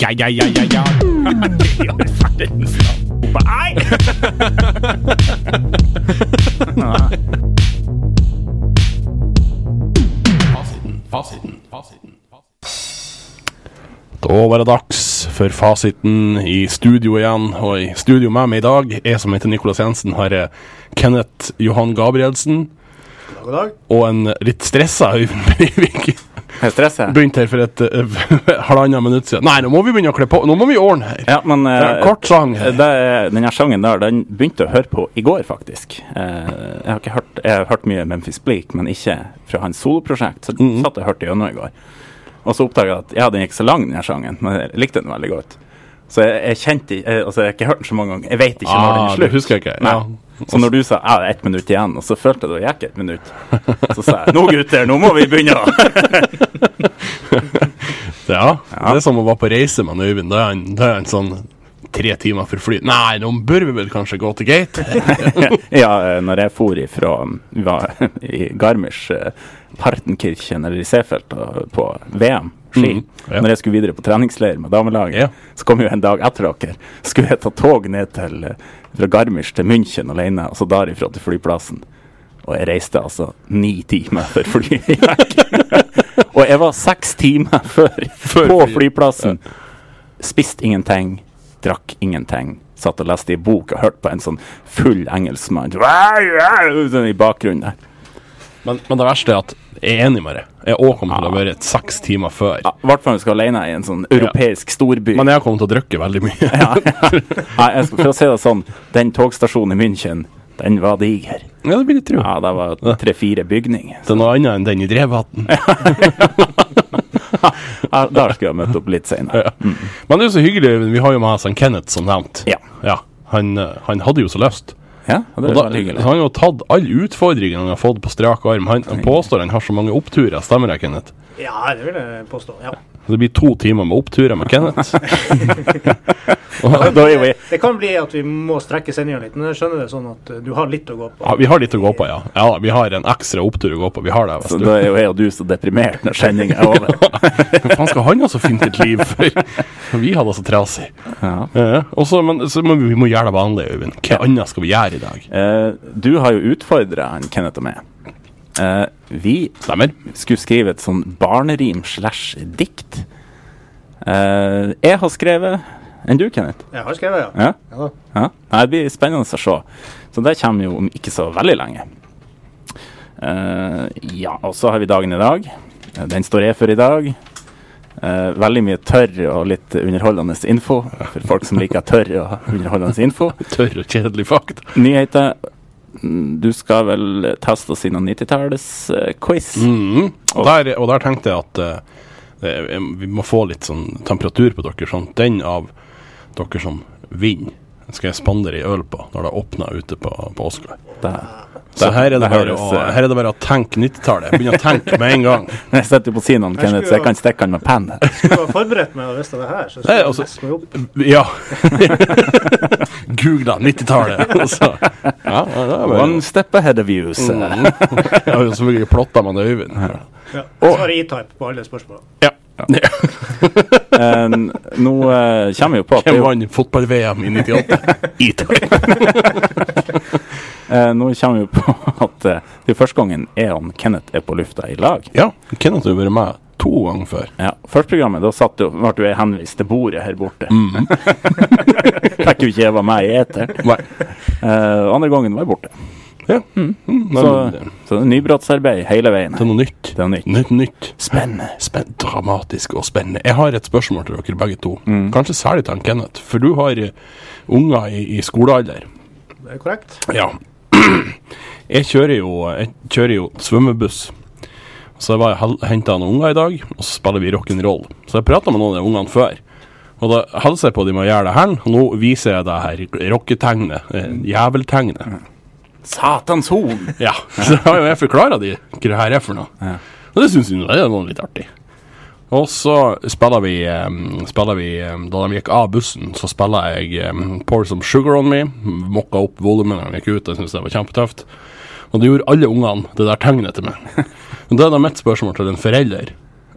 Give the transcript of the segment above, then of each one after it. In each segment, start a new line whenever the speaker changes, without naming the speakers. ja, ja, ja, ja, ja. Nei!
Fasiten, fasiten, fasiten.
Da var det dags for fasiten i studio igjen. Og i studio med meg i dag, jeg som heter Nikolas Jensen, har jeg Kenneth Johan Gabrielsen.
God dag.
Og en litt stressa Øyvind Breivik.
Er det stress, jeg?
Begynte her for et eh, halvannet minutt siden. Nei, nå må vi begynne å kle på. Nå må vi ordne her.
Ja, men
Det er
eh,
en kort sang.
eh, det er- den her sangen der, den begynte jeg å høre på i går, faktisk. Eh, jeg har ikke hørt Jeg har hørt mye Memphis Bleak, men ikke fra hans soloprosjekt. Så
Mhm.
satt jeg og hørte gjennom i går. Og så oppdaga jeg at ja, den er ikke så lang, den her sangen, men jeg likte den veldig godt. Så jeg, jeg kjente i- eh, Altså, jeg har ikke hørt den så mange ganger. Jeg vet ikke når
Ah,
den er
det
slutt.
husker jeg ikke.
Nei.
Ja.
Så når du sa ja, det er ett minutt igjen, og så følte jeg det gikk ett minutt, så sa jeg nå gutter, nå må vi begynne!
Ja, Det er som å være på reise med en Øyvind. Da er han, da er han sånn tre timer for fly. Nei, nå bør vi vel kanskje gå til gate.
ja, eh, når jeg for ifra vi var i Garmisch, eh, Partenkirchen eller i Seefeld og- på VM ski,
Mhm, ja.
når jeg skulle videre på treningsleir med damelaget,
Ja.
så kom jo en dag etter dere, skulle jeg ta tog ned til eh, fra Garmisch til München alene, og så derifra til flyplassen. Og jeg reiste altså ni timer før flyet gikk. og jeg var seks timer før, på
flyet.
flyplassen. Spist ingenting, drakk ingenting. Satt og leste i bok og hørte på en sånn full engelskmann sånn i bakgrunnen der.
Men, men det verste er at jeg er enig med deg. Jeg òg kommer til å være et seks timer før.
Ja, I hvert fall når du skal alene i en sånn europeisk storby.
Men jeg har kommet til å drikke veldig mye.
Ja, Nei, jeg skal, for å si det sånn, den togstasjonen i München, den var diger.
Ja, det blir litt tro.
Ja, det var tre-fire bygninger.
Det er noe annet enn den i Drevvatn.
Ja, der skulle jeg møtt opp litt senere.
Men det er jo så hyggelig, Øyvind. Vi har jo med oss han Kenneth, som nevnt.
Ja.
han, eh, han hadde jo så lyst.
Ja,
Og
det var
da,
veldig hyggelig.
så han har jo tatt alle utfordringene han har fått på strak arm. Han, han påstår han har så mange oppturer, stemmer det, Kenneth?
Ja, det vil jeg påstå. Ja.
Så det blir to timer med oppturer med Kenneth. Og-
Da er vi
Det kan bli at vi må strekke sendinga litt, men jeg skjønner det sånn at eh, du har litt å gå på.
ja, Ah, vi har litt å gå på, ja. ja. Vi har en ekstra opptur å gå på. Vi har det.
Så
Vet du.
da er jo jeg og du så deprimert når sendinga er over.
Hva faen skal han ha så fint et liv for? Vi hadde altså trasig.
Ja.
Ja, og så- men, så, men vi må gjøre det vanlige, Øyvind. Hva annet skal vi gjøre i dag?
Eh, du har jo utfordra han Kenneth og meg. Eh, vi
Stemmer?
skulle skrive et sånn barnerim slash dikt. Eh, jeg har skrevet enn du, Kenneth.
Jeg har skrevet, ja.
Ja?
ja da.
ja? Nei, det blir spennende å se. Så det kommer jo om ikke så veldig lenge. Eh, ja, og så har vi dagen i dag. Eh, Den står jeg for i dag. Eh, veldig mye tørr og litt underholdende info for folk som liker tørr og underholdende info.
Tørr og kjedelig fakt.
Nyheter. Mm, Du skal vel teste oss innom 90-tallets-quiz.
Mm. Og der, og der tenkte jeg at eh, det- eh, vi må få litt sånn temperatur på dere. Sånn. at Den av dere som vinner, skal jeg spandere ei øl på når det åpner ute på, på Oscar. Så her er det
det
bare
høres,
å,
eh,
her er det bare å tenke 90-tallet. Begynne å tenke med en gang.
Jeg sitter jo på siden av Kenneth, så jeg kan stikke han med penn.
Skulle jeg ha forberedt meg og visst det her, så
Nei,
skulle jeg
altså-
nesten ha jobbet.
Ja. Googla 90-tallet. og så- Altså. Ja, ja, det er bare-
One step ahead of you. sa jeg.
Mm. Jeg har jo selvfølgelig plotta med det, Øyvind.
Ja. Så har jeg E-type på alle spørsmålene.
Ja.
Eh, Nå eh, kommer vi jo på at det
Hvem
er jo,
vant fotball-VM i 98? Italia.
eh, Nå kommer vi jo på at eh, det er første gangen jeg og Kenneth er på lufta i lag.
Ja, Kenneth har vært med to ganger før.
Ja, Førsteprogrammet, da satt jo, ble jo jeg henvist til bordet her borte.
Mm.
Fikk jo ikke jeg var med i eteren.
Nei.
Eh, andre gangen var jeg borte.
Ja. Mm. Nei,
Så,
men det-
så det er nybrottsarbeid hele veien.
det er noe nytt.
Det er nytt.
Nytt, nytt.
Spennende.
Spenn- dramatisk og spennende. Jeg har et spørsmål til dere begge to. Kanskje særlig til han Kenneth, for du har eh, unger i, i skolealder.
Det er korrekt.
Ja. Jeg kjører jo, jeg kjører jo svømmebuss. Så jeg var og henta noen unger i dag, og så spiller vi rock'n'roll. Så jeg prata med noen av de ungene før. Og da hilser jeg på dem og gjør det her, og nå viser jeg det her rocketegnet. eh, Jæveltegnet.
Satans horn!
Ja. Så har jo jeg forklara de hva det her er for noe. Og det syns de nå, det var litt artig. Og så spiller vi, eh, spiller vi eh, Da de gikk av bussen, så spiller jeg um, Pour Some Sugar On Me. Mokka opp volumet når de gikk ut. Jeg syntes det var kjempetøft. Og det gjorde alle ungene, det der tegnet til meg. Men da er da mitt spørsmål til en forelder.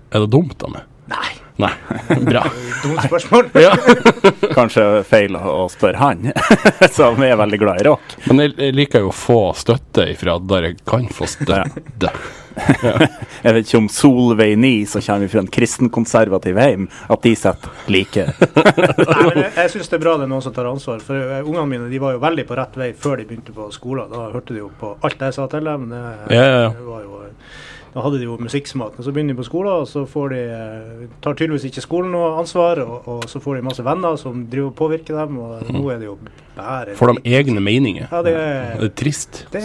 Er det dumt av meg?
Nei.
Nei. Bra.
Dumt spørsmål.
Kanskje feil å, å spørre han, som er veldig glad i rock.
Men jeg, jeg liker jo å få støtte ifra der jeg kan få støtte.
Jeg vet ikke om Solveig Ni, som kommer fra en kristenkonservativ heim, at de setter like.
Nei, men jeg, jeg syns det er bra det er noen som tar ansvar. For eh, ungene mine de var jo veldig på rett vei før de begynte på skolen. Da hørte de jo på alt jeg sa til dem. Det,
Ja, ja, ja.
det var jo, eh, da hadde de jo musikksmak. Men så begynner de på skolen, og så får de, eh, tar tydeligvis ikke skolen noe ansvar. Og, og så får de masse venner som driver og påvirker dem, og nå er det jo bare
Mhm. Får de egne meninger.
Ja, det,
Det er trist.
det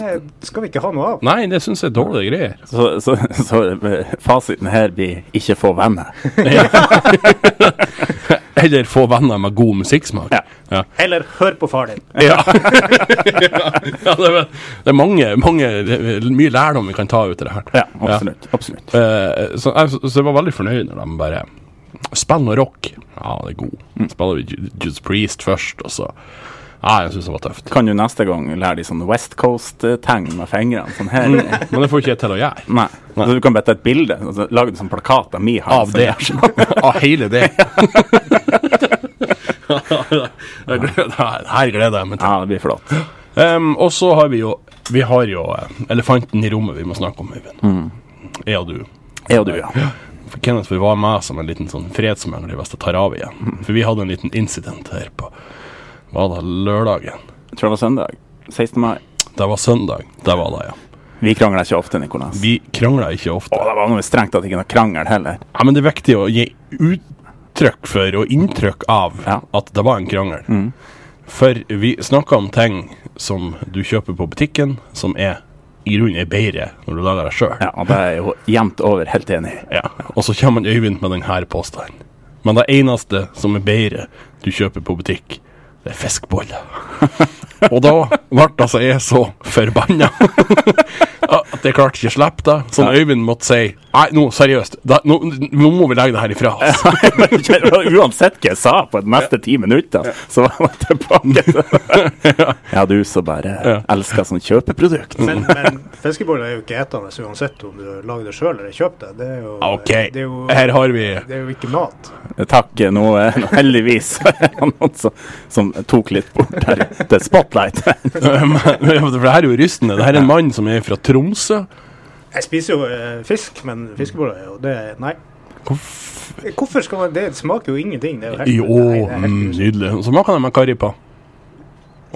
skal vi ikke ha noe av.
Nei, det syns jeg er dårlige greier.
Så, så, så eh, fasiten her blir ikke få venner.
Eller få venner med god musikksmak.
Ja.
Ja.
Eller hør på far din.
Ja. ja, det er, det er mange, mange det er mye lærdom vi kan ta ut av det her.
Ja, absolutt. absolutt.
Eh, så, jeg, så jeg var veldig fornøyd når de bare Spill noe rock. Ja, det er god.
Mm.
Spiller vi Ju- Judas Priest først, og så Ja, jeg syns det var tøft.
Kan du neste gang lære de sånn West Coast-tegn med fingrene? Sånn her. Nei.
Men det får ikke jeg til å gjøre.
Så du kan bare ta et bilde og så lager du sånn plakat av mi hand.
Av det. Av hele det. Jeg gleder- Her gleder jeg meg til.
Ja, det blir flott.
Ehm, og så har vi jo Vi har jo eh, elefanten i rommet vi må snakke om, Øyvind. Jeg og du.
Jeg og du, ja.
For Kenneth vi var med som en liten sånn fredsmegler i Vest-Taravia. For vi hadde en liten incident her på Var det lørdagen?
Jeg tror det var søndag. 16. mai.
Det var søndag. Det var det, ja.
Vi krangler ikke ofte, Nikolas.
Vi krangla ikke ofte.
Å, det var noe strengt at det ikke er noe krangel heller.
Ja, men det er viktig å gi uttrykk for og inntrykk av
Ja.
at det var en krangel. For vi snakka om ting som du kjøper på butikken, som er i grunnen er bedre når du lager det sjøl.
Ja, og det er jeg jo jevnt over helt enig i.
Ja, og så kommer Øyvind med denne påstanden. Men det eneste som er bedre du kjøper på butikk, det er fiskeboller. og da ble altså jeg så forbanna at jeg klarte ikke å slippe det. Så Øyvind måtte si Nei, nå, seriøst, da, nå, nå må vi legge det her ifra oss.
Uansett hva jeg sa på de neste ti minutter, så var jeg tilbake til Ja, du som bare elsker sånn kjøpeprodukt.
Men,
Mhm.
men fiskeboller er jo ikke etende uansett om du lager det sjøl eller kjøper det. Det er jo,
OK,
det er jo,
her har vi
det er jo ikke mat.
Takk, nå eh, nå heldigvis er det noen som, som tok litt bort her til spotlight.
For det her er jo rystende. Det her er en mann som er fra Tromsø.
Jeg spiser jo eh, fisk, men fiskeboller er jo det Nei. Hvorfor skal man det? Det smaker jo ingenting. Det er jo helt,
Jo,
nei, det er helt
mm,
grusomt.
nydelig. Så smaker det med karri på.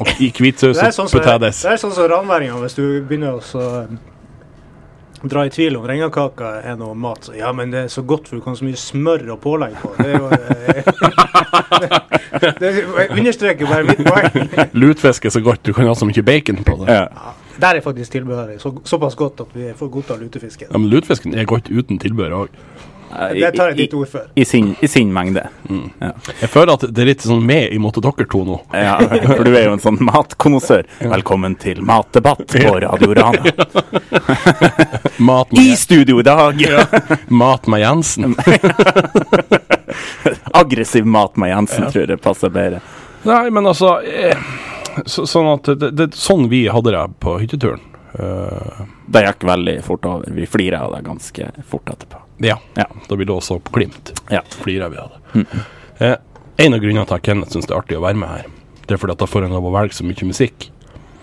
Og i hvit saus
Det er sånn
og
som, det
potetes.
er sånn som ranværinger, hvis du begynner å så, eh, dra i tvil om rengakaka er noe mat. Så, ja, men det er så godt, for du kan ha så mye smør og pålegg på. Det, er jo, eh, det, det understreker bare mitt poeng.
Lutfisk er så godt, du kan ha så mye bacon på det.
Ja.
Der er faktisk tilbehøret så, såpass godt at vi får godta lutefisken.
Ja, men Lutfisken er godt uten tilbehør òg.
Det tar jeg ditt ord for.
I, i, sin, I sin mengde.
Jeg føler at det er litt sånn med imot dere to nå.
Ja, for du er jo en sånn matkonnoissør. Velkommen til matdebatt på Radio Rana.
Mat
I
med,
studio i dag!
mat med Jensen.
Aggressiv mat med Jensen tror jeg passer bedre.
Nei, men altså eh, så, Sånn at det, det, sånn vi hadde det på hytteturen. Eh,
Det gikk veldig fort over. Vi flirer av det ganske fort etterpå.
ja.
Ja.
Da vi lå og så på Glimt.
Ja.
Flira vi av det. Eh, en av grunnene til at Kenneth syns det er artig å være med her, det er fordi at da får en lov å velge så mye musikk.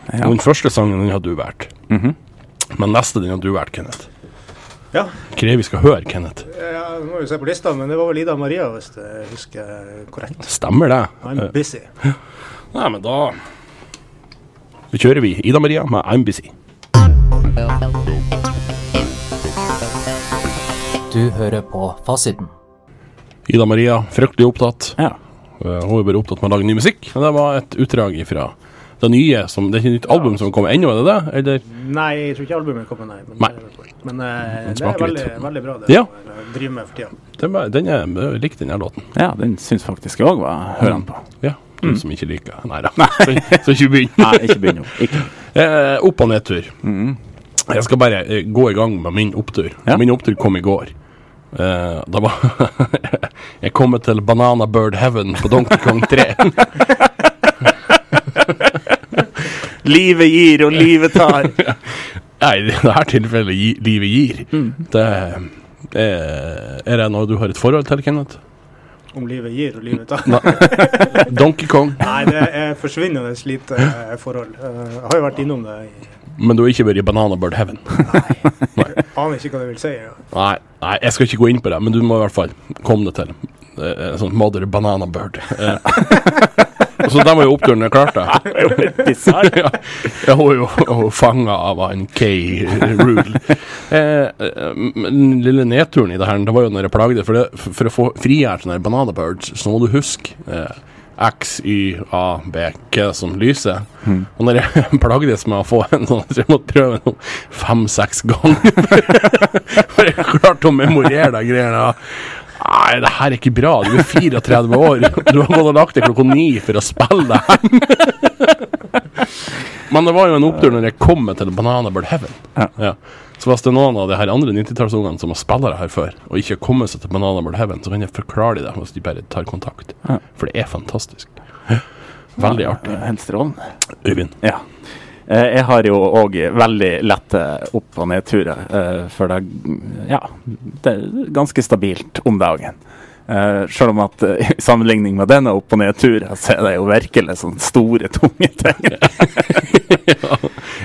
Ja.
Og den første sangen den har du valgt. Men neste den har du valgt, Kenneth.
Ja,
Hva er det vi skal høre, Kenneth?
ja, nå må vi se på lista, men det var vel Ida Maria, hvis jeg husker korrekt.
Stemmer det?
I'm busy.
Nei, men da Da kjører vi Ida Maria med I'm Busy.
Du hører på Fasiten.
Ida Maria, fryktelig opptatt.
Ja.
Eh, Hun er bare opptatt med å lage ny musikk. Og det var et utdrag ifra det nye som Det er ikke et nytt album som kommer ennå, er det det? Eller?
Nei, jeg tror ikke albumet kommer, nei. Men,
Nei.
men eh, det er
smaker
veldig,
litt.
veldig bra, det
Ja.
jeg driver med for tida.
Den, var- den er, jeg likte den her låten.
ja, den syns faktisk jeg òg var hørende på.
Ja. Du som ikke liker Mm. Nei da. Så, så ikke begynn.
Nei, ikke begynn nå. Ikke.
Eh, opp- og nedtur. Jeg skal bare eh, gå i gang med min opptur.
Ja.
Min opptur kom i går. Eh, da var Jeg kommer til Banana Bird Heaven på Donkey Kong 3.
Livet gir, og livet tar.
Nei, i det her tilfellet gi, livet gir. Det eh, Er det noe du har et forhold til, Kenneth?
om livet gir og livet tar.
Donkey Kong.
Nei, det er forsvinnende lite eh, forhold. Eh, Jeg har jo vært innom det. i-
Men du har ikke vært i Banana Bird Heaven.
Aner ikke hva det vil si. ja.
Nei, nei, jeg skal ikke gå inn på det, men du må i hvert fall komme deg til. Eh, eh, sånn Mother Banana Bird. Eh. Så den var jo oppturen jeg klarte.
Bizarre.
ja, jeg var jo fanga av han K. Rule. Eh, eh, men den lille nedturen i det her, det var jo når jeg plagde For, det, for å få frigjort sånne her Banana Birds, så må du huske eh, X, Y, A, B, K som lyser. Og når jeg plagdes med å få en sånn, så jeg måtte prøve noe fem-seks ganger For jeg klarte å memorere de greiene. Nei, det her er ikke bra. Du er 34 år. Du har gått og lagt deg klokka ni for å spille det her. Men det var jo en opptur når jeg kom meg til Banana Bird Heaven.
Ja.
Så hvis det er noen av de her andre 90-tallsungene som har spilt det her før, og ikke har kommet seg til Banana Bird Heaven, så kan jeg forklare dem det hvis de bare tar kontakt.
Ja.
For det er fantastisk. Veldig artig.
Ja, Helt strålende.
Øyvind.
Ja. Eh, Jeg har jo òg veldig lette opp- og nedturer, eh, for det, ja, det er ganske stabilt om dagen. Eh, selv om at eh, i sammenligning med denne opp- og nedturen, så er det jo virkelig sånne store, tunge ting.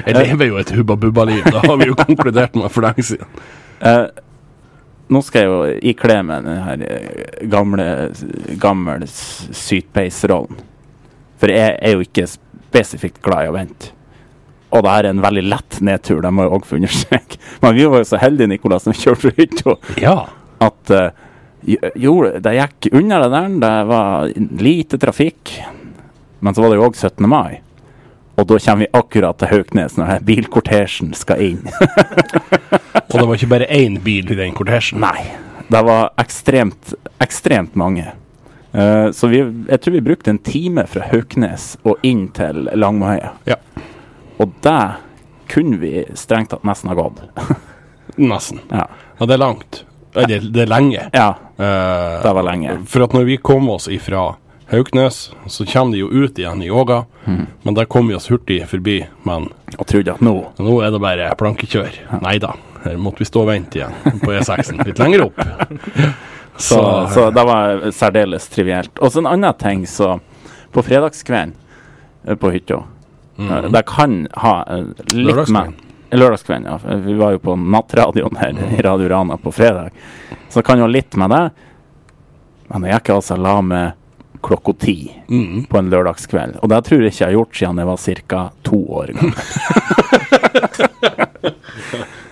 Jeg lever jo et hubba-bubba-liv, det har vi jo konkludert med for lenge siden.
Eh, nå skal jeg jo ikle meg den her eh, gamle, gammel s- sytbeisrollen. For jeg er jo ikke spesifikt glad i å vente. Og det her er en veldig lett nedtur, det må jeg òg få understreke. Men vi var jo så heldige, Nicolas, som kjørte hytta,
Ja.
at eh, jo- jo, det gikk unna det der, det var lite trafikk. Men så var det jo òg 17. mai. Og da kommer vi akkurat til Hauknes når denne bilkortesjen skal inn.
Og det var ikke bare én bil i den kortesjen.
Nei. Det var ekstremt, ekstremt mange. Eh, så vi, jeg tror vi brukte en time fra Hauknes og inn til Langmøya.
Ja.
Og det kunne vi strengt tatt nesten ha gått.
Nesten.
Ja.
Og det er langt. Eller, det er lenge.
ja,
Eh,
det var lenge.
For at når vi kom oss ifra Hauknes, så kommer de jo ut igjen i Åga.
Hmm.
Men der kom vi oss hurtig forbi. Men
Og trodde at nå
nå er det bare plankekjør. Nei da, her måtte vi stå og vente igjen på E6-en litt lenger opp.
Så, så det var særdeles trivielt. Og så en annen ting, så På fredagskvelden eh, på hytta eh, Det kan ha eh, litt
Lørdagskvelden.
med Lørdagskvelden, ja. for Vi var jo på nattradioen her i Radio Rana på fredag. Så det kan jo ha litt med det. Men jeg gikk altså la meg klokka ti
Mm.
på en lørdagskveld. Og det tror jeg ikke jeg har gjort siden jeg var ca. to år gammel.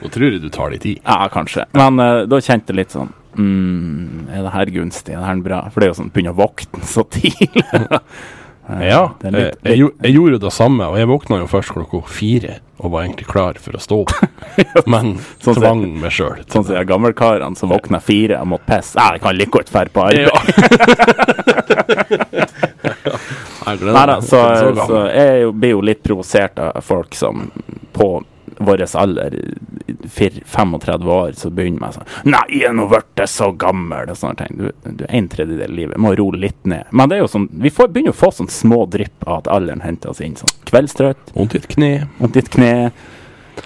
Nå tror jeg du tar litt tid.
Ja, kanskje. Men eh, da kjente jeg litt sånn mm, Er det her gunstig? Er det her bra? For det er jo sånn begynner å våkne så tidlig. Eh,
Ja, eh,
det er litt-
jeg, jeg, gjo- jeg gjorde jo det samme, og jeg våkna jo først klokka fire og var egentlig klar for å stå opp. Men
Sånn ser-
tvang meg sjøl.
Sånn som de gammelkarene som våkner fire og måtte pisse. Ja, jeg kan like godt dra på arbeid. Nei da, så, så jeg er jo, blir jo litt provosert av folk som på vår alder, fir- 35 år, så begynner med sånn Nei, jeg er nå blitt så gammel! Og sånne ting. Du, du er en tredjedel av livet, må roe litt ned. Men det er jo sånn, vi får, begynner jo å få sånn små drypp av at alderen henter oss inn. Sånn kveldstrøtt,
Vondt i et kne.
vondt i et kne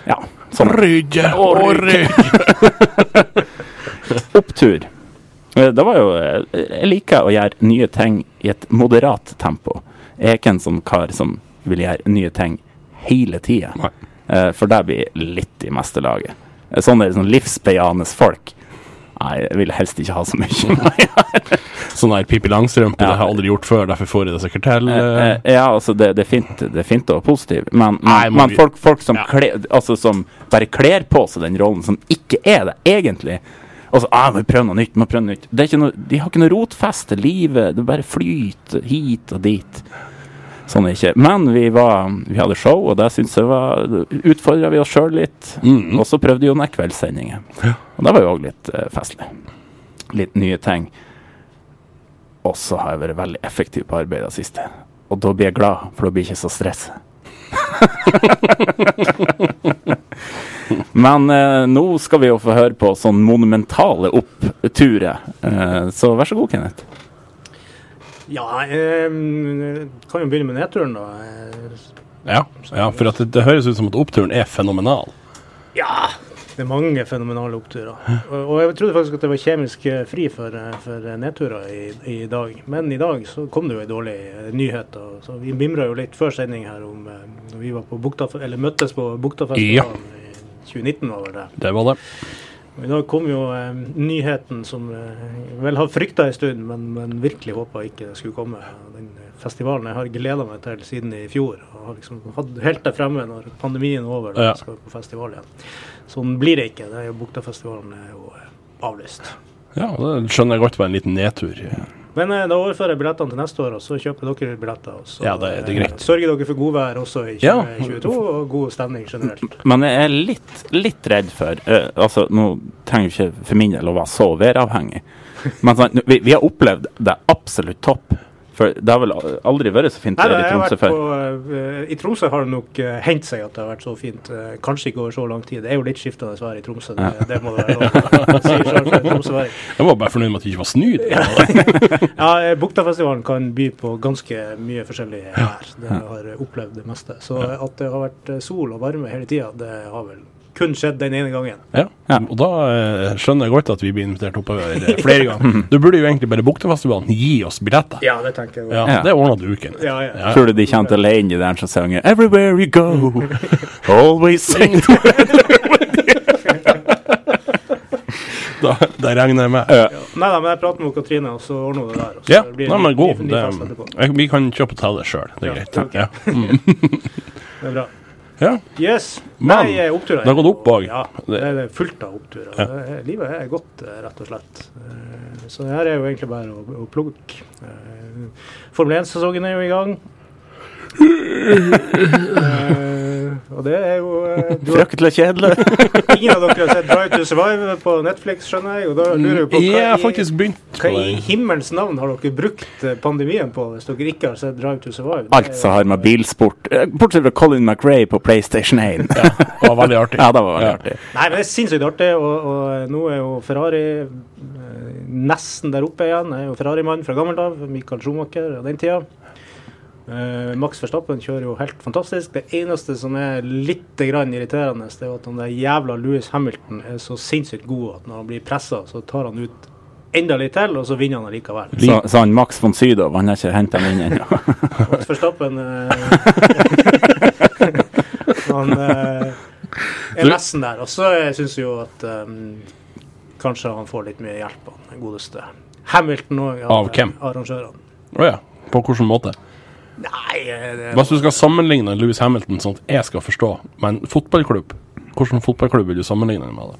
Ja. Sånn
Rygge og rygg.
opptur. Eh, Det var jo eh, Jeg liker å gjøre nye ting i et moderat tempo. Jeg er ikke en sånn kar som vil gjøre nye ting hele tida.
Nei.
Eh, For det blir litt i meste laget. Eh, Sånne sånn livsbejaende folk Nei, jeg vil helst ikke ha så mye. Nei.
Sånn der Pippi Langstrømpe,
Ja.
det har jeg aldri gjort før, derfor får jeg det sikkert til.
Eh, eh, Ja, altså, det, det, er fint, det er fint å være positiv, men, men,
Nei, men
men
vi-
folk, folk som,
Ja.
kler, altså, som bare kler på seg den rollen, som ikke er det egentlig Altså, ah, må prøve noe nytt, må prøve noe nytt. Det er ikke noe, de har ikke noe rotfeste, livet det bare flyter hit og dit. Sånn er det ikke. Men vi, var, vi hadde show, og det syns jeg var Utfordra vi oss sjøl litt.
Mhm.
Og så prøvde jo den kveldssendinger. Og det var jo òg litt eh, festlig. Litt nye ting. Og så har jeg vært veldig effektiv på arbeid det siste. Og da blir jeg glad, for da blir jeg ikke så stress. Men eh, nå skal vi jo få høre på sånn monumentale oppturer. Eh, så vær så god, Kenneth.
Ja, eh, kan jo begynne med nedturen, da. Eh,
Ja, ja for at det, det høres ut som at oppturen er fenomenal.
Ja, Det er mange fenomenale oppturer. Og, og jeg trodde faktisk at det var kjemisk eh, fri for, eh, for eh, nedturer i, i dag. Men i dag så kom det jo en dårlig eh, nyhet. Og, så vi mimra jo litt før sending her om eh, når vi var på Buktafest, eller møttes på
Ja.
Buktafestivalen i 2019 var vel det.
Det var det.
Og I dag kom jo eh, nyheten som eh, vel har frykta en stund, men, men virkelig håpa ikke det skulle komme. Den festivalen jeg har gleda meg til siden i fjor. og har liksom hatt helt der fremme når pandemien er over og
Ja.
jeg skal på festival igjen. Sånn blir det ikke. det er jo Buktafestivalen er jo eh, avlyst.
Ja, det skjønner jeg godt var en liten nedtur.
Men eh, da overfører jeg billettene til neste år, og så kjøper dere billetter. Og så
Ja, det er- det er
eh,
greit.
sørger dere for godvær også i
Ja.
2022, og god stemning generelt.
Men jeg er litt, litt redd for eh, Altså, nå trenger jo ikke for min del å være så væravhengig. Men sånn, vi, vi har opplevd det absolutt topp. For det har vel aldri vært så fint
Nei,
vær i
nei, jeg har
Tromsø
vært
før.
på, eh, I Tromsø har det nok uh, hendt seg at det har vært så fint. eh, kanskje ikke over så lang tid. Det er jo litt skiftende vær i Tromsø, det, det må det være lov å si. selv om Tromsø er-
Jeg var bare fornøyd med at det ikke var snø.
Ja, eh, Buktafestivalen kan by på ganske mye forskjellig vær. Det har jeg opplevd det meste. Så eh, at det har vært eh, sol og varme hele tida, det har vel kun skjedd den ene gangen.
Ja. Og da eh, skjønner jeg godt at vi blir invitert oppover eh, flere ganger. Du burde jo egentlig bare Buktefestivalen gi oss billetter.
Ja, det tenker jeg.
Ja,
Ja.
Det ordna du uken.
Ja, ja.
Tror du de kjente alene i den som "Eh, sanger 'Everywhere you go, always sing'?
Da, da regner jeg med.
Nei da, men jeg prater med Katrine, og så ordner hun det der. og så
Ja,
blir det
nei, men
ny-
god.
ny- ny
Det,
fest etterpå.
jeg, vi kan kjøpe hotellet sjøl, det er
Ja,
greit. Ja.
Det er bra.
Ja.
Yes.
Men,
Nei, eh, oppturer.
det har gått opp også.
Ja, det er fullt av oppturer. Det er- Livet er godt, eh, rett og slett. Eh, Så det her er jo egentlig bare å, å plukke. Eh, Formel 1-sesongen er jo i gang. Eh, og det er jo eh, du har,
Fryktelig kjedelig.
Ingen av dere har sett Drive to Survive på Netflix, skjønner jeg. Og da lurer jeg på
Jeg har
i-
faktisk begynt på
hva i
det.
himmelens navn har dere brukt eh, pandemien på, hvis dere ikke har sett Drive to Survive? Det er
Alt som har med bilsport eh, Bortsett fra Colin McRae på PlayStation 1. Ja,
Det var veldig artig.
det var veldig
Ja.
artig.
Nei, men det er sinnssykt artig, og, og nå er jo Ferrari eh, nesten der oppe igjen. Jeg er jo Ferrari-mann fra gammelt av. Michael Schumacher og den tida. Eh, Max Verstappen kjører jo helt fantastisk. Det eneste som er litt grann irriterende, det er at han der jævla Louis Hamilton er så sinnssykt god at når han blir pressa, så tar han ut enda litt til, og så vinner han allikevel.
Så, så han Max von Sydow han har ikke henta han inn ennå.
Max Verstappen eh, Han eh, er nesten der. Og så syns jeg jo at eh, kanskje han får litt mye hjelp av den godeste Hamilton eh, òg.
Av hvem?
Arrangørene.
Å ja. På hvilken måte?
Nei, eh, det
Hvis du skal sammenligne Louis Hamilton sånn at jeg skal forstå, med en fotballklubb, hvilken fotballklubb vil du sammenligne den med? da?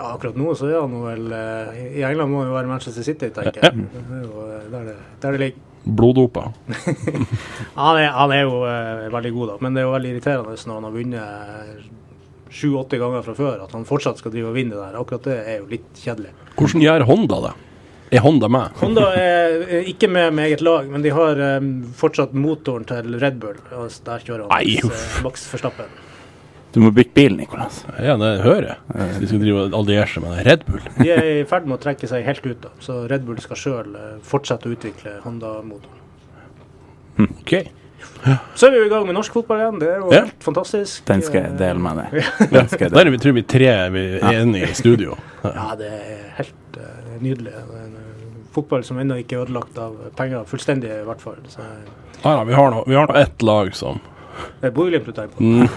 ja, akkurat nå så er han nå vel eh, I England må han jo være Manchester City, tenker jeg. Det er jo eh, der det, der det ligger.
Bloddopa.
Han er, han er jo eh, veldig god, da. Men det er jo veldig irriterende når han har vunnet sju-åtte ganger fra før, at han fortsatt skal drive og vinne det der. Akkurat det er jo litt kjedelig.
Hvordan gjør Honda det? Er Honda med?
Honda er er ikke med med eget lag, men de har em, fortsatt motoren til Red Bull. Og s- der kjører han
Nei,
Max,
uff.
eh, Max Verstappen.
Du må bytte bil, Nicolas.
Ja, det hører jeg. De skal drive og alliere seg med Red Bull.
De er i ferd med å trekke seg helt ut, da. så Red Bull skal sjøl fortsette å utvikle Honda-motoren.
Ok.
Så er vi jo i gang med norsk fotball igjen. Det er jo
Ja.
helt fantastisk.
Den skal jeg
Eh,
dele med deg. Den skal jeg
Der
dele.
er vi, tror vi tre vi er enige i studio.
Ja, det er helt eh, nydelig. Det er En, eh, fotball som ennå ikke er ødelagt av penger, fullstendig i hvert fall. Så
Ja, ja, vi har nå- vi har nå ett lag som
det er eh, Bodø-Glimt du tenker på.
Mm.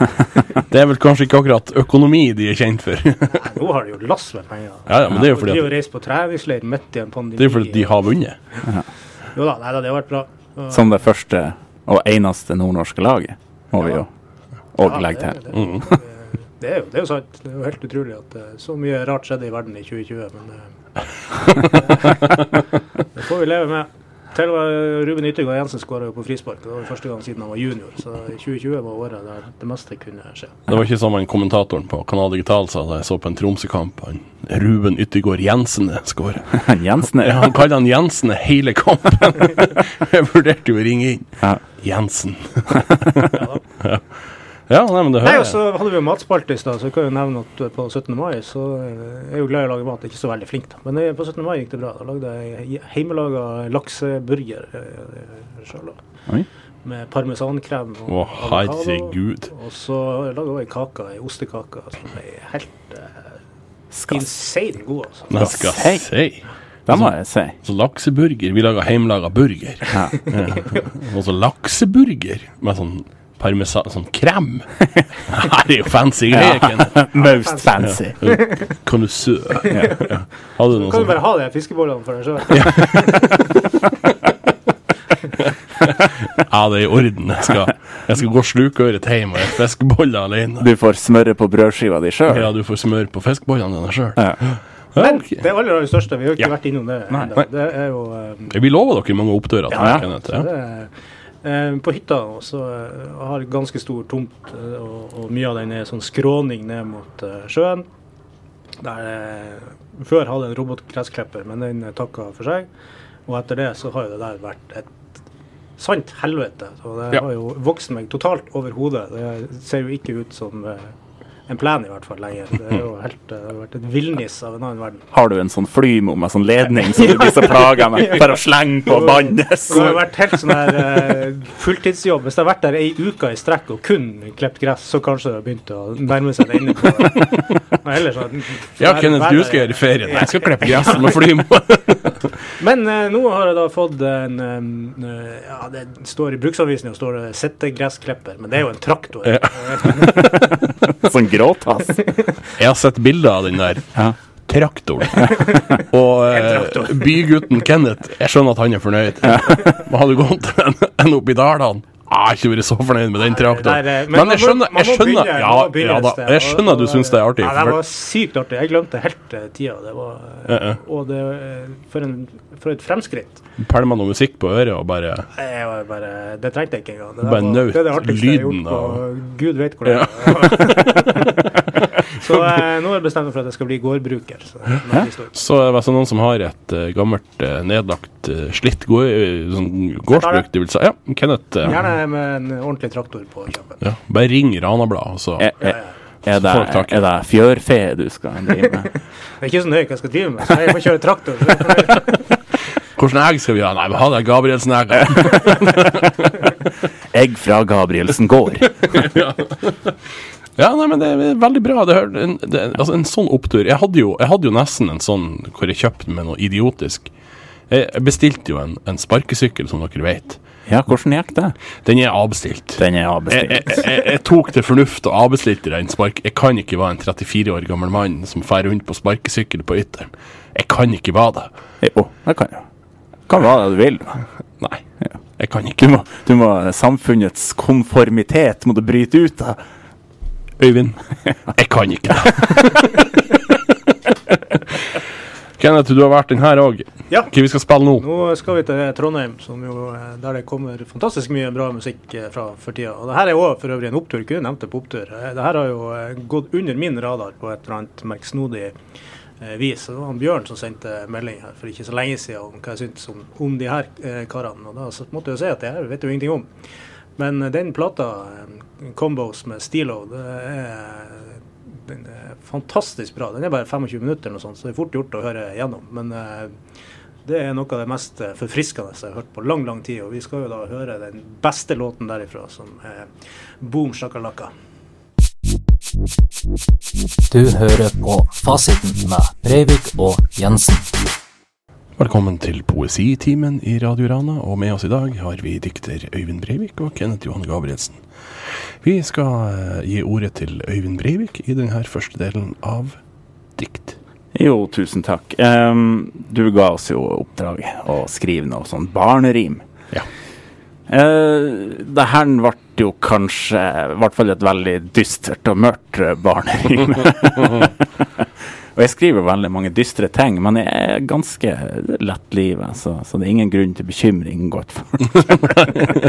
Det er vel kanskje ikke akkurat økonomi de er kjent for. Ja,
Nei, nå har de jo lass med penger.
ja, men det er jo fordi,
de har
at,
reist på treningsleir midt i en pandemi.
det er jo fordi at de har vunnet.
Jo da, nei da, det har vært bra. Og-
Som det første og eneste nordnorske laget, må vi jo og
Ja,
legge
det-
til.
det-
Mm.
Det er, jo, det er jo sant. Det er jo helt utrolig at eh, så mye rart skjedde i verden i 2020. Men eh, det får vi leve med. Til og med Ruben Yttergård Jensen skåra jo på frispark. Det var første gang siden han var junior. Så 2020 var året der det meste kunne skje.
Det var ikke som en kommentatoren på Kanal Digital sa da jeg så på en Tromsø-kamp. Han Ruben Yttergård Jensen skårer.
Han Jensen er
Han kaller han Jensen eh, hele kampen. Jeg vurderte jo å ringe inn.
Ja.
Jensen. Ja, nei, men det
Nei,
hører
og
jeg.
så hadde vi jo matspalte i stad, så jeg kan jo nevne at eh, på 17. mai så eh, jeg er jo glad i å lage mat. Ikke så veldig flink, da. Men eh, på 17. mai gikk det bra. eh, Da lagde jeg hjemmelaga lakseburger sjøl.
Oi.
med parmesankrem og
Å,
avokado.
herregud.
Og så laga hun ei kake, ei ostekake, som er helt eh,
Skal
insane god, altså.
Jeg skal
Hei.
si.
Det må jeg si.
Så lakseburger. Vi lager hjemmelaga burger.
Ja.
Og så lakseburger med sånn parmesan Sånn krem. Her er jo fancy greier, Ken.
Most fancy.
Connoisseur. Ja. Hadde du
Du
noe sånn
kan jo
sånt?
bare ha de her fiskebollene for deg sjøl.
Ja, det er i orden. Jeg skal, jeg skal gå slukøret hjem og spise fiskeboller alene.
Du får smøre på brødskiva di sjøl.
Ja, du får smør på fiskebollene dine sjøl.
Ja.
Ja,
Men
ok.
det aller aller største, vi har jo ikke
Ja.
vært innom det
Nei.
ennå, det er jo eh,
Vi lover dere mange oppdører. til
Ja, ja.
Kenneth,
Så det er, eh, på hytta og så eh, har jeg ganske stor tomt, eh, og, og mye av den er sånn skråning ned mot eh, sjøen. Der jeg før hadde en robotgressklipper, men den eh, takka for seg. Og etter det så har jo det der vært et sant helvete. Og det
Ja.
har jo vokst meg totalt over hodet. Det ser jo ikke ut som eh, en plan i hvert fall lenger. Det er jo helt, eh, det har vært et villnis av en annen verden.
Har du en sånn flymo med sånn ledning som du blir så plaga med for å slenge på bannes?
Det har vært helt sånn her eh, fulltidsjobb. Hvis jeg har vært der ei uke i strekk og kun klippet gress, så kanskje det har begynt å nærme seg det inne på det. Men ellers så-
Ja, Kenneth, du skal gjøre ferie. Nei, jeg skal klippe gresset med flymo.
Men eh, nå har jeg da fått en eh, eh, Ja, det står i bruksanvisningen står det 'sitteggressklipper', men det er jo en traktor.
Ja.
Sånn gråtass.
Jeg har sett bilder av den der
Ja.
traktoren. Og eh, bygutten Kenneth, jeg skjønner at han er fornøyd. Men hadde du gått til en, en opp i dalene Jeg har ikke vært så fornøyd med den traktoren.
Der, eh,
Men jeg
man må-
skjønner,
man
jeg
må
skjønner
begynne-
Ja,
man må begynne
ja
et
da.
sted,
Jeg
og-
skjønner du
og-
syns det er artig.
Ja, det var
for-
sykt artig. Jeg glemte helt eh, tida. Det var, eh, Og det eh, for, en, for et fremskritt.
Pælma noe musikk på øret og bare
Jeg var bare, det trengte jeg ikke engang. Det, der
Bare
var-
nøt
det er det artigste jeg har
lyden
gjort på
av-
gud vet hvor lenge. så eh, nå har jeg bestemt meg for at jeg skal bli gårdbruker. Så, det er en annen historie.
Så er det altså noen som har et eh, gammelt, eh, nedlagt, eh, slitt gå- eh, sånn
tar
gårdsbruk
det.
de vil si. Ja, Kenneth. eh,
Gjerne med en ordentlig traktor på kjøpet.
Ja, bare ring Ranabladet, altså. så
Er, er, er, det,
Folk tar ikke.
er det fjørfe du skal drive med?
Det er ikke så nøye hva jeg skal drive med, så jeg får kjøre traktor. Så jeg får nøye.
Hvordan egg skal vi ha? Nei, vi har det Gabrielsen-egg.
Egg fra Gabrielsen gård.
Ja, nei, men det er veldig bra. Det, hør- en, det, altså, en sånn opptur jeg hadde, jo, jeg hadde jo nesten en sånn hvor jeg kjøpte med noe idiotisk. Jeg jeg bestilte jo en, en sparkesykkel, som dere vet.
Ja, hvordan gikk det?
Den er avbestilt.
Den er
Jeg, jeg,
avbestilt.
jeg, jeg tok til fornuft og avbestilte den spark... Jeg kan ikke være en 34 år gammel mann som fer rundt på sparkesykkel på ytteren. Jeg kan ikke være det.
Jo, det kan jo. Kan være det du vil.
Nei, jeg kan
Du
ikke.
må, du må samfunnets konformitet må du bryte ut av.
Øyvind, jeg kan ikke det. Kenneth, du har vært den her òg.
Ja.
Hva vi skal spille nå?
Nå skal vi til Trondheim, som jo, eh, der det kommer fantastisk mye bra musikk eh, fra for tida. Og det her er òg for øvrig en opptur. Kunne nevnt det på opptur. Eh, Det her har jo eh, gått under min radar på et eller annet merksnodig eh, vis. Og Det var han Bjørn som sendte melding her for ikke så lenge siden om hva jeg syntes om, om de her eh, karene. Og da så måtte jeg jo si at det her vet jeg jo ingenting om. Men eh, den plata, eh, Combos med Stilo, det er den er fantastisk bra. Den er bare 25 minutter, eller noe sånt, så det er fort gjort å høre gjennom. Men eh, det er noe av det mest eh, forfriskende jeg har hørt på lang, lang tid. Og vi skal jo da høre den beste låten derifra, som er Boom Shakalaka.
Du hører på Fasiten med Breivik og Jensen.
Velkommen til poesitimen i Radio Rana, og med oss i dag har vi dikter Øyvind Breivik og Kenneth Johan Gabrielsen. Vi skal eh, gi ordet til Øyvind Breivik i denne første delen av dikt.
Jo, tusen takk. Ehm, du ga oss jo oppdraget å skrive noe sånn barnerim.
Ja.
Uh, det her ble jo kanskje I hvert fall et veldig dystert og mørkt eh, barnerim. og jeg skriver veldig mange dystre ting, men jeg er ganske lettlivet, så, så det er ingen grunn til bekymring, godt folk.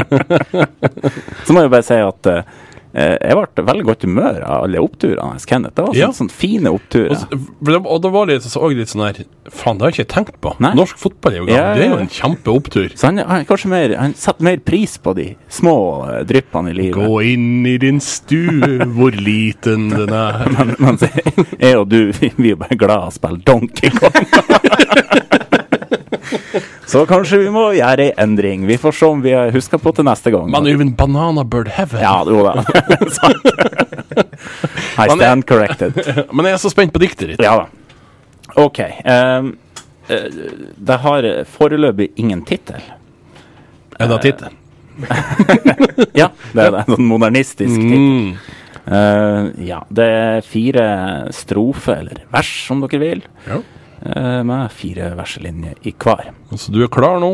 så må jeg bare si at eh, eh, jeg ble i veldig godt humør av alle oppturene hans, Kenneth. Det var sånne,
Ja.
sånne fine oppturer.
Og, s- for det- og det var litt, så også litt sånn her Faen, det har jeg ikke tenkt på.
Nei.
Norsk fotball er jo gammel.
Ja, ja, ja.
Det er jo en kjempeopptur.
Så han, han, er kanskje mer, han setter mer pris på de små eh, dryppene i livet.
Gå inn i din stue, hvor liten den er.
Men, mens jeg, jeg og du, vi vi er jo bare glad å spille Donkey Kong. Så kanskje vi må gjøre ei endring. Vi får se om vi husker på til neste gang.
Men Øyvind, banana bird heaven.
Ja, jo da. Sant. I
Men-
stand corrected.
Men jeg er så spent på diktet ditt.
Ja da. OK. ehm, eh, det har foreløpig ingen tittel.
Er det tittelen?
Ja, det er det. En sånn modernistisk tittel. Eh, ja. Det er fire strofer, eller vers, om dere vil,
Ja.
eh, med fire verselinjer i hver.
Så du er klar nå?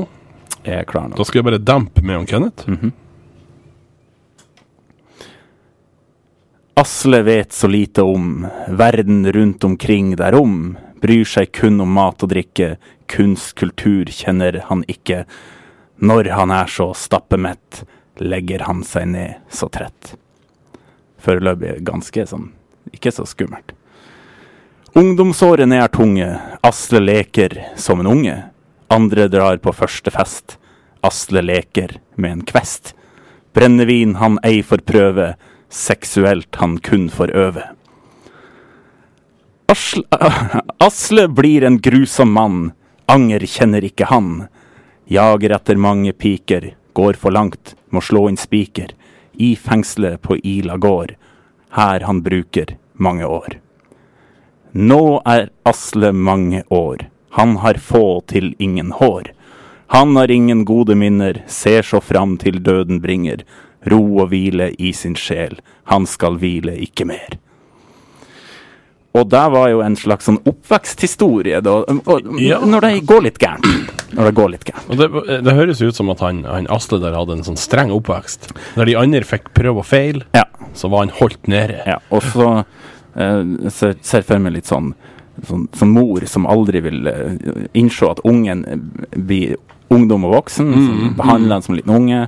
Jeg er klar nå.
Da skal jeg bare dempe med om Kenneth.
Asle vet så lite om verden rundt omkring derom. Bryr seg kun om mat og drikke. Kunst, kultur kjenner han ikke. Når han er så stappemett, legger han seg ned så trett. Foreløpig ganske sånn ikke så skummelt. Ungdomsårene er tunge. Asle leker som en unge. Andre drar på første fest. Asle leker med en kvest. Brennevin han ei får prøve, seksuelt han kun får øve. Asle, Asle blir en grusom mann, anger kjenner ikke han. Jager etter mange piker, går for langt, må slå inn spiker. I fengselet på Ila gård, her han bruker mange år. Nå er Asle mange år, han har få til ingen hår. Han har ingen gode minner, ser så fram til døden bringer. Ro og hvile i sin sjel, han skal hvile ikke mer. Og det var jo en slags sånn oppveksthistorie, da. Og,
Ja.
Når det går litt gærent. Når det går litt gærent.
Og det, det høres jo ut som at han, han Asle der hadde en sånn streng oppvekst. Der de andre fikk prøve og feil,
Ja.
så var han holdt nede.
ja. Og så eh, ser, ser for meg litt sånn sånn som mor som aldri vil eh, innse at ungen eh, blir ungdom og voksen, som behandler han som liten unge.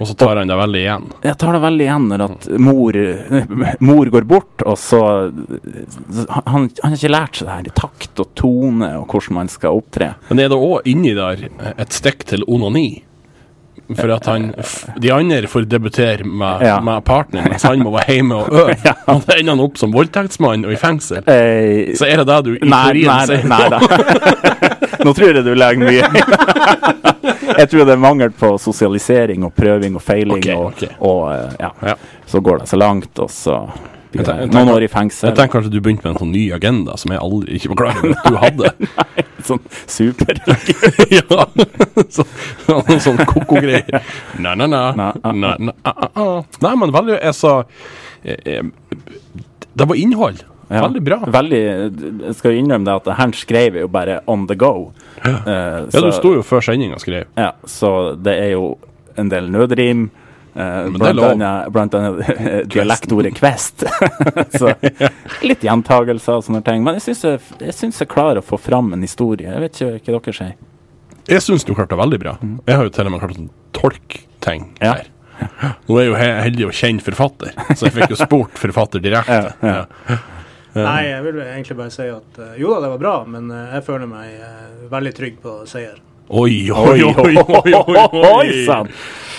Og så tar han det veldig igjen.
Jeg tar det veldig igjen når at mor, mor går bort, og så han, han har ikke lært seg det her i takt og tone og hvordan man skal opptre.
Men er det òg inni der et stikk til onani? For at han f- De andre får debutere med,
Ja.
med partneren, mens han må være hjemme og øve. Og da ender han opp som voldtektsmann og i fengsel.
Eh,
Så er det det du i
Nei,
teorien
nei,
sier?
nei da. Nå tror jeg du legger mye Jeg tror det er mangel på sosialisering og prøving og feiling.
Ok,
og,
ok.
og eh, ja.
Ja.
Så går det så langt, og så blir
Jeg tenker-
det
jeg
noen
tenker-
år i
Jeg
fengsel.
tenker kanskje du begynte med en sånn ny agenda som jeg aldri ikke var klar over at du hadde.
Sånn super.
ja. så, noen sånn koko-greier. Nei, nei, nei.
Nei, ah,
Nei, nei, ah, ah, ah. nei men veldig altså, eh, eh, Det var innhold.
Ja.
Veldig bra.
Veldig, jeg skal jo innrømme det at det her skrev jeg jo bare on the go. Eh,
Ja, du
så-
sto jo før sendinga og skrev.
Ja, så det er jo en del nødrim.
det
eh,
er
blant,
lov.
annet, blant annet dialektordet kvest. så litt gjentagelser og sånne ting. Men jeg syns jeg, jeg, syns jeg klarer å få fram en historie. Jeg vet ikke hva dere sier.
Jeg syns du klarte det veldig bra. Jeg har jo til og med klart å tolke ting
Ja.
her. Nå er jeg jo he- heldig å kjenne forfatter, så jeg fikk jo spurt forfatter direkte. Ja.
Nei, jeg vil egentlig bare si at eh, jo da, det var bra, men eh, jeg føler meg eh, veldig trygg på seier.
Oi, oi, oi, oi, oi,
Oi
oi.
sann!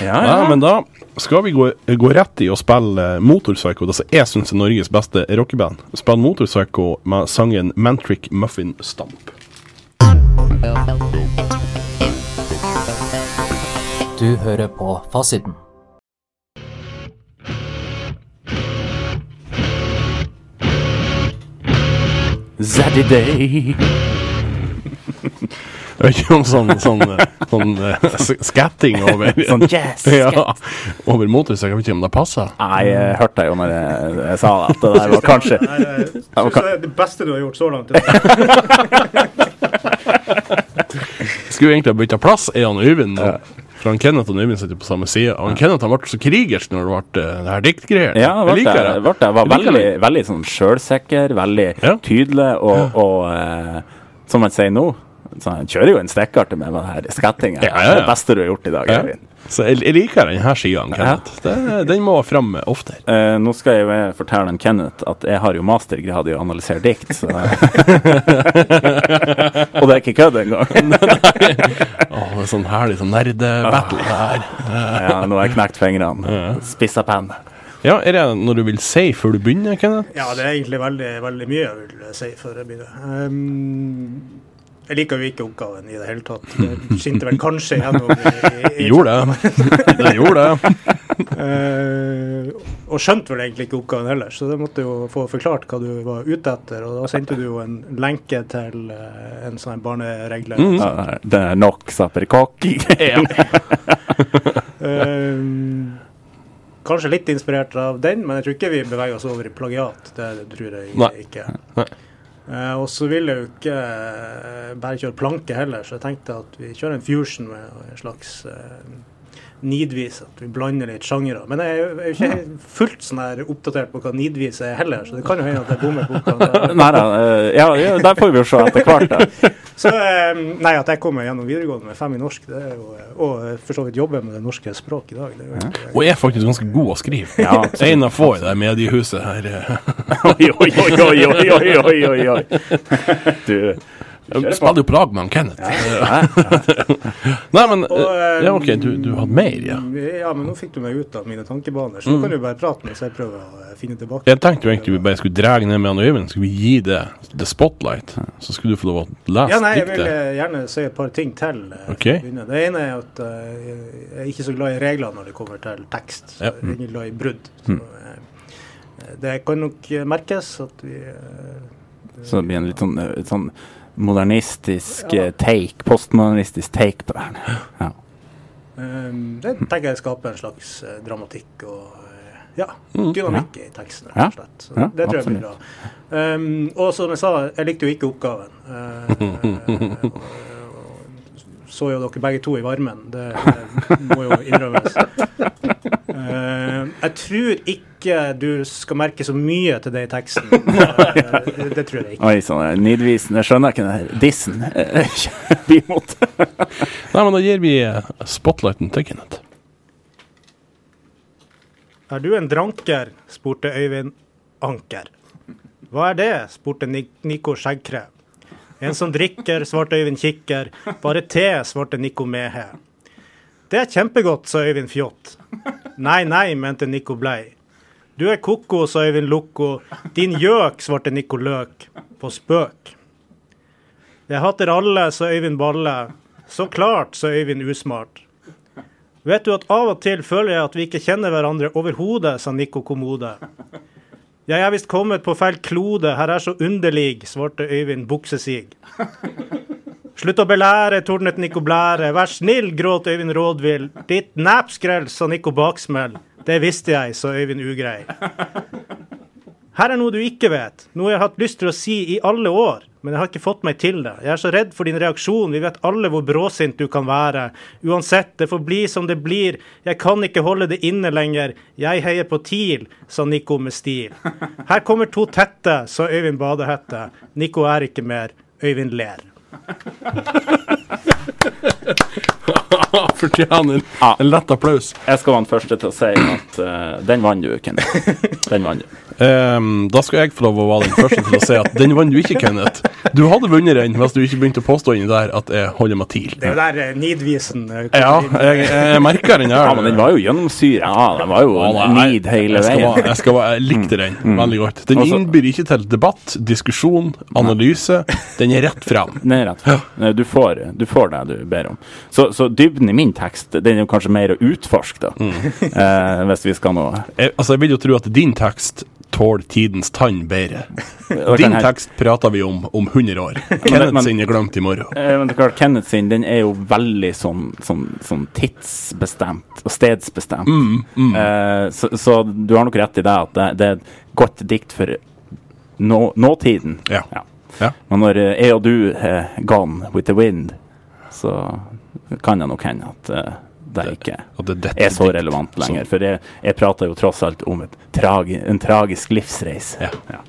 Ja,
Ja, men da skal vi gå, gå rett i å spille eh, Motorpsycho, det som jeg syns er Norges beste rockeband. Spille Motorpsycho med sangen Mantric Muffin Stamp.
Du hører på Fasiten.
Zaddy day.
Det er ikke noe sånn, sånn, eh, sånn eh, s- skatting over
Sånn yes!
ja, Over motorpsycho. Jeg vet ikke om det passer.
Nei, jeg hørte jo når jeg, jeg sa det, at det der var kanskje
Nei, jeg synes
var
det
ka-
er det beste du har gjort så langt. Det
Skulle egentlig ha bytta plass, er han Øyvind nå. For han Kenneth og han Øyvind sitter på samme side. Og han Kenneth han ble så krigersk når det ble eh, det her diktgreiene. Jeg
Ja, det ble
liker
det. Ble det. Jeg var
Jeg liker
veldig, veldig sånn sjølsikker, veldig
Ja.
tydelig, og, og eh, som man sier nå så Han kjører jo en stikkar til meg med det her skattinga.
Ja, ja, ja.
Det beste du har gjort i dag,
Ja.
Eivind.
Så jeg, jeg liker denne sida, Kenneth. Det, den må fram eh, oftere.
Eh, nå skal jeg jo jeg fortelle en Kenneth at jeg har jo mastergrad i å analysere dikt. Så. og det er ikke kødd engang.
Åh, det er sånn herlig sånn nerdebattle
Ah.
her.
ja, nå har jeg knekt fingrene. Spissa penn.
Ja, er det noe du vil si før du begynner, Kenneth?
Ja, det er egentlig veldig, veldig mye jeg vil si før jeg begynner. Ehm, Jeg liker jo ikke oppgaven i det hele tatt. Det skinte vel kanskje gjennom i, i, i
Gjorde det. Den gjorde det.
Eh, og skjønte vel egentlig ikke oppgaven heller, så det måtte jo få forklart hva du var ute etter. Og da sendte du jo en lenke til eh, en sånn her barneregler.
Mm.
Ja, Det er nok sapperkaki.
Eh, kanskje litt inspirert av den, men jeg tror ikke vi beveger oss over i plagiat. Det tror jeg
Nei.
ikke.
Nei.
Eh, og så vil jeg jo ikke eh, bare kjøre planke heller, så jeg tenkte at vi kjører en fusion med en slags eh, Nidvis, at vi blander litt sjangere. Men jeg er jo- jeg er jo ikke helt fullt sånn her oppdatert på hva nidvis er heller, så det kan jo hende at jeg bommer på oppgaven.
Nei da. eh, Ja, ja, der får vi jo se etter hvert. da.
Så eh, nei, at jeg kommer gjennom videregående med fem i norsk, det er jo, eh, og eh, for så vidt jobber med det norske språket i dag, det er jo ikke
Og jeg er faktisk ganske god å skrive.
Ja, absolutt.
en av få i det mediehuset her. eh,
Oi, oi, oi, oi, oi, oi, oi, oi, oi. Du,
Jeg spiller jo på lag med han Kenneth. Nei, men eh,
Og, eh,
Ja, OK, du, du hadde mer, ja. Mm.
Ja, men nå fikk du meg ut av mine tankebaner, så nå kan du bare prate mens jeg prøver å eh, finne tilbake.
Jeg tenkte jo egentlig vi bare skulle dra ned med han Øyvind. Skulle vi gi det the spotlight? Så skulle du få lov å lese
Ja, nei, jeg vil
diktet.
eh, gjerne si et par ting til. eh,
Ok.
for å begynne. Det ene er at eh, jeg er ikke så glad i regler når det kommer til tekst.
Ja. Mm.
Jeg er ikke glad i brudd. Så, eh, det kan nok eh, merkes at vi eh,
Så det blir en litt sånn, eh, et sånn modernistisk eh, take, postmodernistisk take på det her. Ja.
eh, Det tenker jeg skaper en slags eh, dramatikk og eh, ja, dynamikk i teksten,
Mm, Ja.
rett og slett. Så
Ja,
det tror jeg blir bra.
absolutt.
Um, og som jeg sa, jeg likte jo ikke oppgaven. Eh, og- og så jo dere begge to i varmen, det, det må jo innrømmes. Eh, jeg tror ikke du skal merke så mye til det i teksten. Eh, det tror jeg ikke.
Oi, sånn eh, nidvisende. Skjønner jeg ikke den her dissen. eh, Vi måtte
Nei, men da gir vi eh, spotlighten til Kenneth.
Er du en dranker? spurte Øyvind Anker. Hva er det? spurte Ni- Nico Skjeggkre. En som drikker, svarte Øyvind Kikker. Bare te, svarte Nico Mehe. Det er kjempegodt, sa Øyvind Fjott. Nei, nei, mente Nico Blei. Du er ko-ko, sa Øyvind Loko. Din gjøk, svarte Nico Løk. På spøk. Jeg hater alle, sa Øyvind Balle. Så klart, sa Øyvind Usmart. Vet du at av og til føler jeg at vi ikke kjenner hverandre overhodet, sa Nico Kommode. Jeg er visst kommet på feil klode, her er så underlig, svarte Øyvind Buksesig. Slutt å belære, tordnet Nico Blære. Vær snill, gråt Øyvind Rådvill. Ditt næpskrell, sa Nico Baksmell. Det visste jeg, sa Øyvind Ugrei. Her er noe du ikke vet, noe jeg har hatt lyst til å si i alle år, men jeg har ikke fått meg til det. Jeg er så redd for din reaksjon, vi vet alle hvor bråsint du kan være. Uansett, det får bli som det blir, jeg kan ikke holde det inne lenger, jeg heier på TIL, sa Nico med stil. Her kommer to tette, sa Øyvind Badehette. Nico er ikke mer, Øyvind ler.
Han Fortjener
Ja.
en lett applaus.
Jeg skal være den første til å si at eh, den vant du, Kenneth. Den vant du.
Ehm, da skal jeg få lov å være den første til å si at den vant du ikke, Kenneth. Du hadde vunnet den hvis du ikke begynte å påstå inni der at jeg holder meg til.
Det er jo der eh, nidvisen eh, kommer
Ja,
inn.
jeg, jeg merker den her.
Ja, men den var jo gjennomsyra. Ja, den var jo
Ja, nei,
nid hele
jeg skal være-
veien. Mm.
Jeg, skal være, jeg likte den veldig godt. Den
Altså-
innbyr ikke til debatt, diskusjon, analyse. Den er rett frem.
Nei, rett. Nei, Du, får, du får det du ber om. Så, så dybden i min tekst den er jo kanskje mer å utforske, da. Eh, hvis vi skal nå
Jeg, altså, jeg vil jo tro at din tekst tåler tidens tann bedre.
Da kan
Din
jeg-
tekst prater vi om om 100 år.
men-
Kenneth sin er glemt i morgen.
Eh, Men det er klart, Kenneth sin den er jo veldig sånn, sånn, sånn tidsbestemt og stedsbestemt.
Mm,
Eh, så, så du har nok rett i det at det, det er et godt dikt for nå, nåtiden.
Ja. Ja.
Men når eh, jeg og du er gone with the wind, så kan det nok hende at eh, det ikke
At det er dette
er så
dikt
relevant
som-
lenger. For jeg, jeg prater jo tross alt om et tragi, en tragisk livsreise
Ja.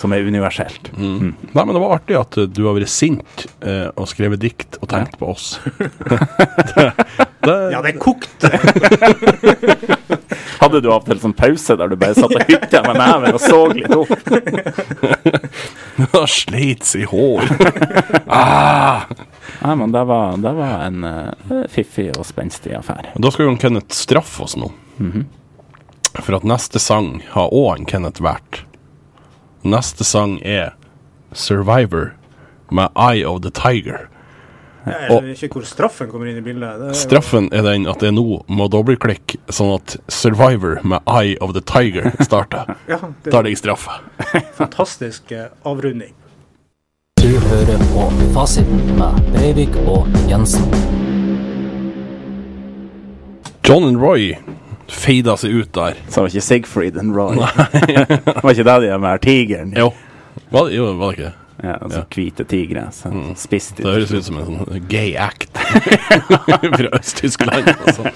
som er universelt.
Nei, men det var artig at eh, du har vært sint eh, og skrevet dikt og tenkt på oss. eh,
Ja, det kokte!
Hadde du av og til sånn pause der du bare satt og hytta med neven og så litt opp?
Det slits i hår.
Nei, men det var, det var en eh, fiffig og spenstig affære.
Da skal jo han Kenneth straffe oss nå. For at neste sang har òg han Kenneth valgt. Neste sang er 'Survivor' med Eye of the Tiger.
Jeg
Og-
skjønner ikke hvor straffen kommer inn i bildet. Det er jo-
Straffen er den at det nå må dobbeltklikk, sånn at Survivor med Eye of the Tiger starter.
Ja, det
Tar
er
deg straffa.
en fantastisk eh, avrunding.
Du hører på Fasiten med Breivik og Jensen.
John and Roy feida seg ut der.
Så det var ikke Sigfried and Roy. det var ikke det de der med tigeren?
Jo, var det, jo, var det ikke det?
Ja, altså hvite tigre. Så spiste
Det
de.
høres ut som en sånn gay act fra Øst-Tyskland. Altså.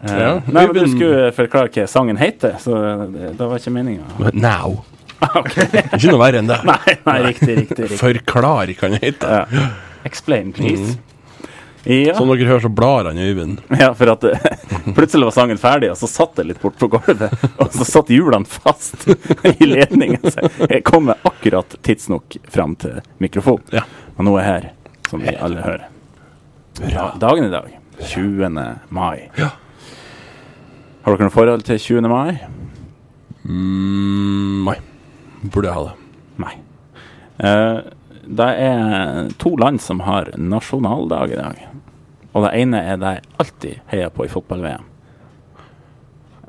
Ja.
Eh, Nei, men du skulle forklare hva sangen heter, så det, det var ikke meninga.
Now. Ikke noe verre enn det.
Nei, nei, riktig, riktig. riktig.
Forklar, kan det hete.
Ja. Explain, please. Ja.
Som dere hører, så blar han Øyvind.
ja, for at eh, plutselig var sangen ferdig, og så satt det litt bort på gulvet. Og så satt hjulene fast i ledningen. Så jeg kommer akkurat tidsnok fram til mikrofonen.
Ja.
Og nå er jeg her, som vi alle hører. Ja, Dagen i dag, 20. mai.
Ja.
Har dere noe forhold til 20. mai?
Mm, nei. Burde jeg ha det.
Nei. Eh, det er to land som har nasjonaldag i dag. Og det ene er det jeg alltid heier på i fotball-VM.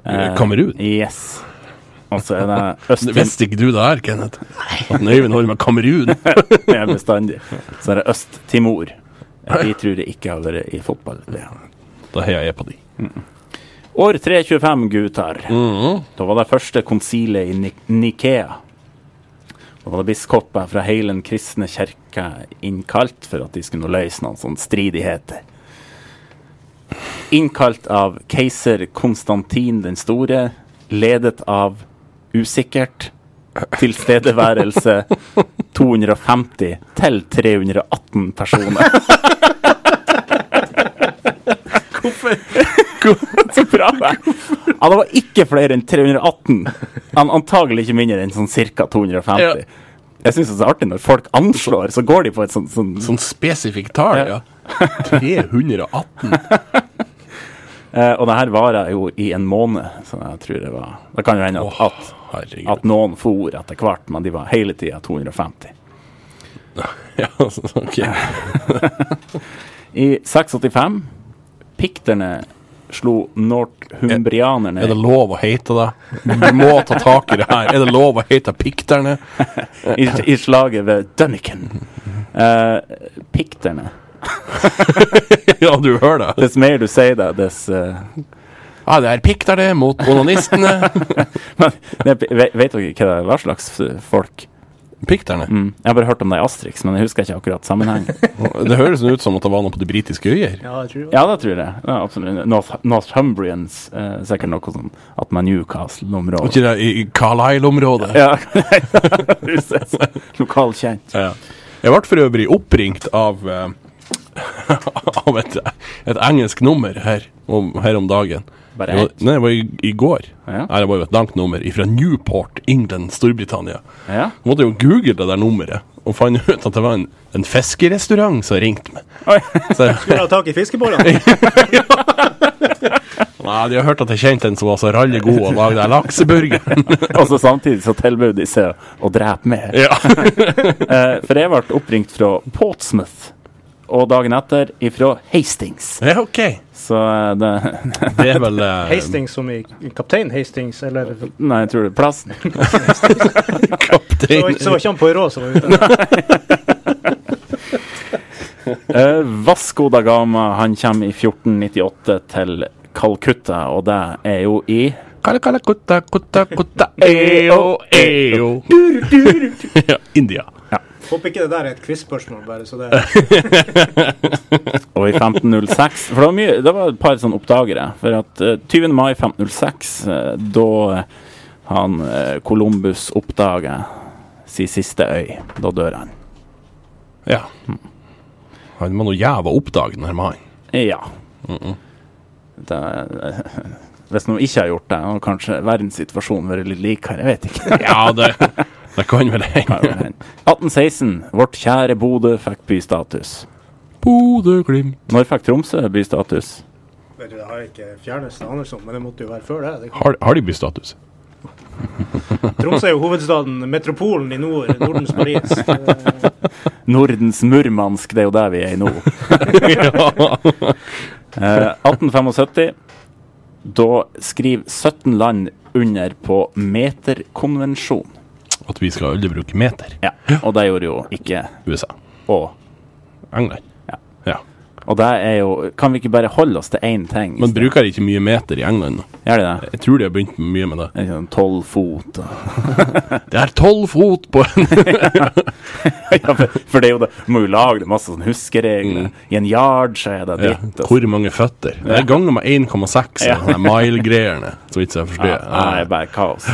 Eh,
Kamerun?
Yes. Og så er det Øst-
Visste ikke du det her, Kenneth? At Øyvind holder med Kamerun?
Ja, bestandig. Så er det Øst-Timor. Eh, Vi tror det ikke har vært i fotball-VM.
Da heier jeg på de.
År 325, gutter. Da var det første konsilet i Ni- Nikea. Da var det biskoper fra hele den kristne kirka innkalt for at de skulle løse noen sånne stridigheter. Innkalt av keiser Konstantin den store, ledet av usikkert tilstedeværelse 250 til 318 personer. Så bra. det. Ja, det var ikke flere enn 318. An antagelig ikke mindre enn sånn ca. 250.
Ja.
Jeg syns det er så artig når folk anslår, så går de på et sånt, sånn
Sånn spesifikt tall, ja. 318.
eh, Og det her varer jo i en måned, så jeg tror det var Det kan jo hende at, at,
Herregud.
at noen for etter hvert, men de var hele tida 250.
Ja, altså, ok.
I 685 Pikterne slo
Er det
nordhumbrianerne
lov å hete det? Du må ta tak i det her. Er det lov å hete pikterne?
i, i slaget ved Dunnican. Eh, pikterne
Ja, du hører det.
Dess mer du sier det, dess eh,
Ja, det er pikterne mot onanistene.
Men det, vet, vet dere hva det er, hva slags folk?
Pikterne?
Jeg har bare hørt om det i Asterix, men jeg husker ikke akkurat sammenhengen.
Det høres ut som at det var noe på de britiske øyer.
Ja, jeg tror det.
Ja, det tror jeg. Ja, absolutt. North, Northumbrians, eh, sikkert noe sånn at man
Var
Newcastle-området.
ikke det i Carlisle-området?
Ja, Huset. Lokalkjent.
Ja. Jeg ble for øvrig oppringt av eh, Av et, et engelsk nummer her om, her om dagen.
Bare
Det var-
ett?
Nei, det var i, i går.
Ja.
Nei, det var jo et langt nummer fra Newport, England, Storbritannia.
Ja.
Jeg måtte jo google det der nummeret, og fant ut at det var en, en fiskerestaurant som ringte meg.
Oi.
Så,
Skulle ha tak i fiskebollene.
nei, de har hørt at jeg kjente en som var så ralle god og lagde den lakseburgeren.
Og så samtidig så tilbød de seg å- å drepe mer.
ja.
Eh, for jeg ble oppringt fra Portsmouth, og dagen etter ifra Hastings.
ja, OK.
Så eh, det
Det er vel eh,
Hastings som i kaptein Hastings, eller Så
Nei, jeg tror det er plassen.
var
kaptein
ikke- så var ikke han på råd som var ute.
Eh, Vasco da Gama han kommer i 1498 til Calcutta, og det er jo i
Kala, kala, kutta, kutta, kutta, eo, eo. ja, India.
Håper ikke det der er et quiz-spørsmål, bare så det er
Og i 1506 For det var, mye, det var et par sånne oppdagere. For at eh, 20. mai 1506, eh, da han eh, Columbus oppdager sin siste øy, da dør han.
Ja. Han var noe jævla oppdagende, her mannen.
Ja. Det, er- hvis noen ikke har gjort det, og kanskje verdenssituasjonen vært litt likere, jeg vet ikke.
Ja, det, det kan vel hende.
1816. Vårt kjære Bodø fikk bystatus.
Bodø-Glimt.
Når fikk Tromsø bystatus?
Vet du, Det har jeg ikke fjerneste anelse om, men det måtte jo være før det. det.
Har, har de bystatus?
Tromsø er jo hovedstaden, metropolen i nord, Nordens Paris. Det-
Nordens Murmansk, det er jo der vi er nå.
ja.
Eh, 1875. Da skriver 17 land under på meterkonvensjon.
At vi skal aldri bruke meter.
Ja, og det gjorde jo ikke
USA.
å.
England.
Ja.
Ja.
Og det er jo Kan vi ikke bare holde oss til én ting?
Man bruker ikke mye meter i England nå.
Gjør de det?
Jeg tror de har begynt mye med det.
Det er ikke sånn Tolv fot og
Det er tolv fot på en
ja, for, for det er jo det. Du må jo lage det masse sånn huskeregler. I en yard så er det
Mm.
altså.
ja.
ditt. og så-
Hvor mange føtter? Det er ganger med 1,6
Ja.
ja. mile-greiene. Så vidt jeg forstår.
Ja, nei, det er bare kaos.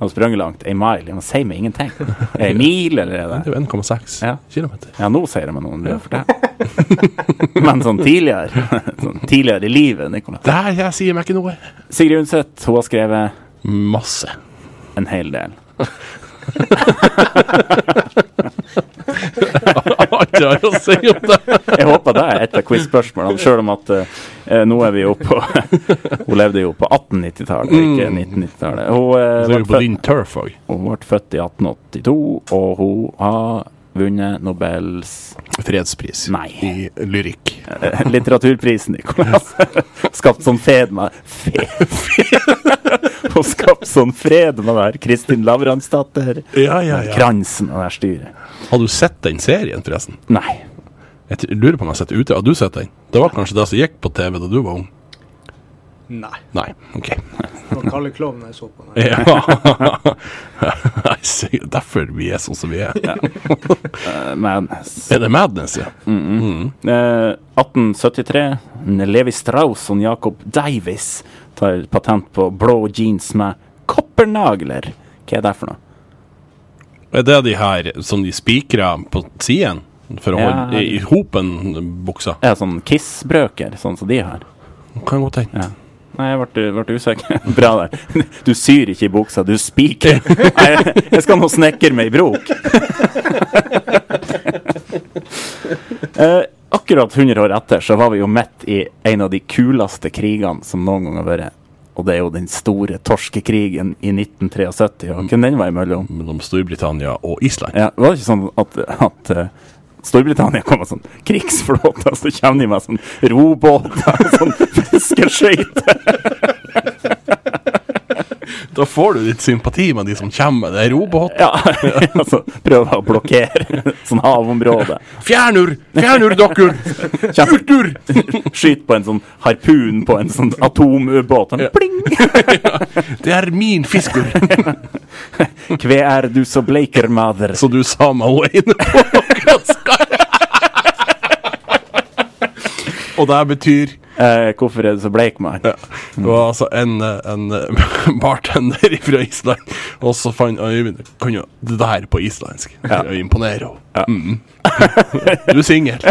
Han sprang langt. Ei mile? Ja, men sier meg ingenting. Er det Ei mil, eller er det
Det er jo 1,6
Ja.
kilometer.
Ja, nå sier det meg noen. Men sånn tidligere sånn Tidligere i livet, Nicolai.
Der jeg sier meg ikke noe.
Sigrid Undset hun har skrevet
Masse.
en hel del.
Alt jeg har å si om det.
Jeg håper det er et av quiz-spørsmålene, sjøl om at eh, nå er vi jo på Hun levde jo på 1890-tallet, ikke 1990-tallet. Hun, eh,
Mm. Så er vi
ble
på din turf òg.
født- hun ble født i 1882, og hun har vunnet Nobels
Fredspris
Nei.
i lyrikk.
eh, litteraturprisen, Nicolas. Skapt sånn fred med fe, fe, Og skapt sånn fred med det her Kristin Lavransdatter.
Ja, ja, ja.
Kransen og det her styret.
Har du sett den serien, forresten?
Nei.
Jeg t- lurer på om jeg har sett det ute. Har du sett den? Det var kanskje det som gikk på TV da du var ung?
Nei.
Nei. OK.
Det var Kalle Klovn jeg så på. Nei.
Ja. Nei, se, Derfor vi er sånn som vi er.
eh, Men
Er det Madness, ja?
Eh, 1873. Levi Strauss og Jacob Davis tar patent på blå jeans med koppernagler. Hva er det for noe?
Er det de her som de spikrer på siden for å
Ja.
holde i, i hopen buksa?
Er det sånn kissbrøker, sånn som de har?
Kan godt hende.
Nei, jeg ble, ble usikker. Bra der. Du syr ikke i buksa, du spiker. Nei, jeg- jeg skal nå snekre meg i brok. Eh, akkurat 100 år etter så var vi jo midt i en av de kuleste krigene som noen gang har vært. Og det er jo den store torskekrigen i 1973. Og hvem den var imellom?
Mellom Storbritannia og Island.
Ja, var det ikke sånn at, at eh, Storbritannia kom med sånn krigsflåte, og så kommer de med sånn robåter og sånn fiskeskøyter?
Da får du litt sympati med de som kommer med det er robåt.
Ja, altså prøve å blokkere sånn havområde.
Fjernur! Fjernur, dere! Ut ur!
Skyte på en sånn harpun på en sånn atomubåt. Sånn, Pling!
Det er min fiskur!
Kve er du så bleiker, mader?
Så du sa meg hun er inne på akkurat Skype. Og det betyr
Eh, hvorfor er du så bleik, mann?
Det var altså en, eh, en eh, bartender fra Island, og så fant Øyvind Kan jo det der på islandsk. Ja. Imponerer henne. Mm. Du er singel.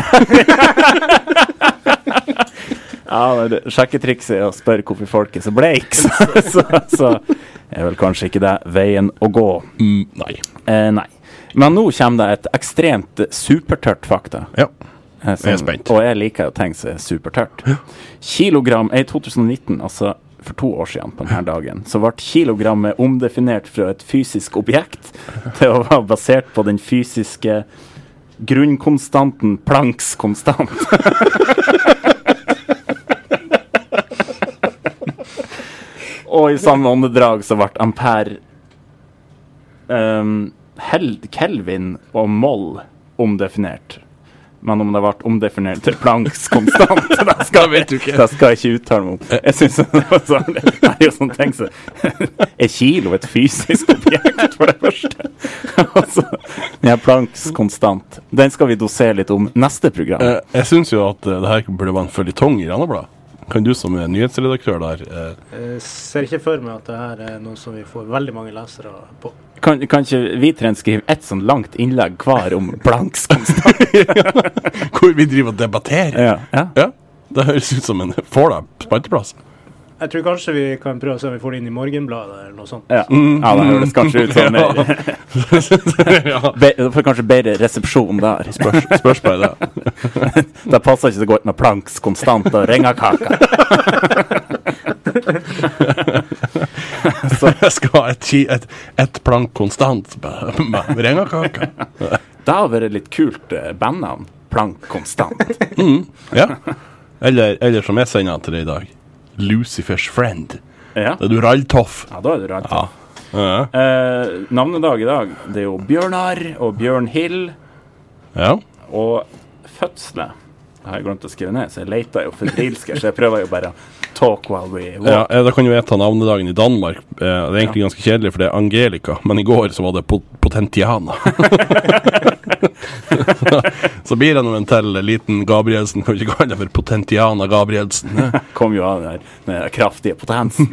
Ja, men det- Sjekketrikset er å spørre hvorfor folk er så bleik, så, så, så er vel kanskje ikke det veien å gå.
Mm, nei.
Eh, nei. Men nå kommer det et ekstremt supertørt fakta.
Ja.
Eh, som-
Jeg er spent.
Og jeg liker jo ting som er supertørt. Kilogram eh, I 2019, altså for to år siden på denne dagen, så ble kilogrammet omdefinert fra et fysisk objekt til å være basert på den fysiske grunnkonstanten Plancks konstant. Og i samme åndedrag så ble ampere ehm, hel Kelvin og moll omdefinert. Men om det ble omdefinert til Plancks konstant, det skal,
Det vet du ikke.
det skal jeg ikke uttale meg om. Jeg synes det, var sånn, det er jo sånn ting som Er kilo et fysisk objekt, for det første? Altså, ja, Plancks konstant. Den skal vi dosere litt om neste program.
Eh, Jeg syns jo at eh, det her burde være en føljetong i Randabladet. Kan du som er nyhetsredaktør der eh,
Jeg ser ikke for meg at det her er noe som vi får veldig mange lesere på.
Kan, kan ikke vi tre skrive ett sånn langt innlegg hver om Plancks konstant?
Hvor vi driver og debatterer?
Ja. ja.
Ja. Det høres ut som en Får deg spalteplass.
Jeg tror kanskje vi kan prøve å se om vi får det inn i Morgenbladet eller noe sånt.
Ja, ja det høres kanskje ut som mer
ja.
be, Du får kanskje bedre resepsjon der.
Spørs, spørs bare det.
Det passer ikke så godt med planks konstant og ringekaka.
Jeg skal ha et, ti- et, et plank konstant med, med rengakake.
Det hadde vært litt kult eh, bandnavn. Plank konstant.
Ja. Eller, eller som jeg sender til deg i dag, Lucifers Friend.
Ja,
Det er du ralltoff.
ja da er det rart.
Ja. Ja.
Eh, navnedag i dag, det er jo Bjørnar og Bjørn Hill.
ja.
Og fødsler har jeg glemt å skrive ned, så jeg leter jo febrilsk. Så jeg prøver jo bare å talk while we
ja.
walk.
eh, Da kan jo jeg ta navnedagen i Danmark. Eh, Det er egentlig ganske kjedelig, for det er Angelica. Men i går så var det Pot- Potentiana. så blir det nå en til liten Gabrielsen. Kan vi ikke kalle det for Potentiana Gabrielsen?
Kom jo av den der den der kraftige potensen.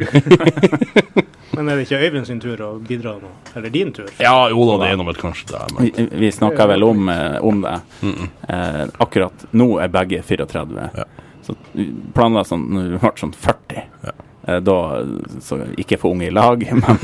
Men er det ikke Øyvind sin tur å bidra nå? Eller din tur?
Ja, jo da, det er nå vel kanskje det. Men.
Vi, vi snakka vel om, eh, om det. Eh, akkurat nå er begge 34.
Ja.
Så planla sånn når vi ble sånn 40. Eh, Da så ikke for unge i lag, men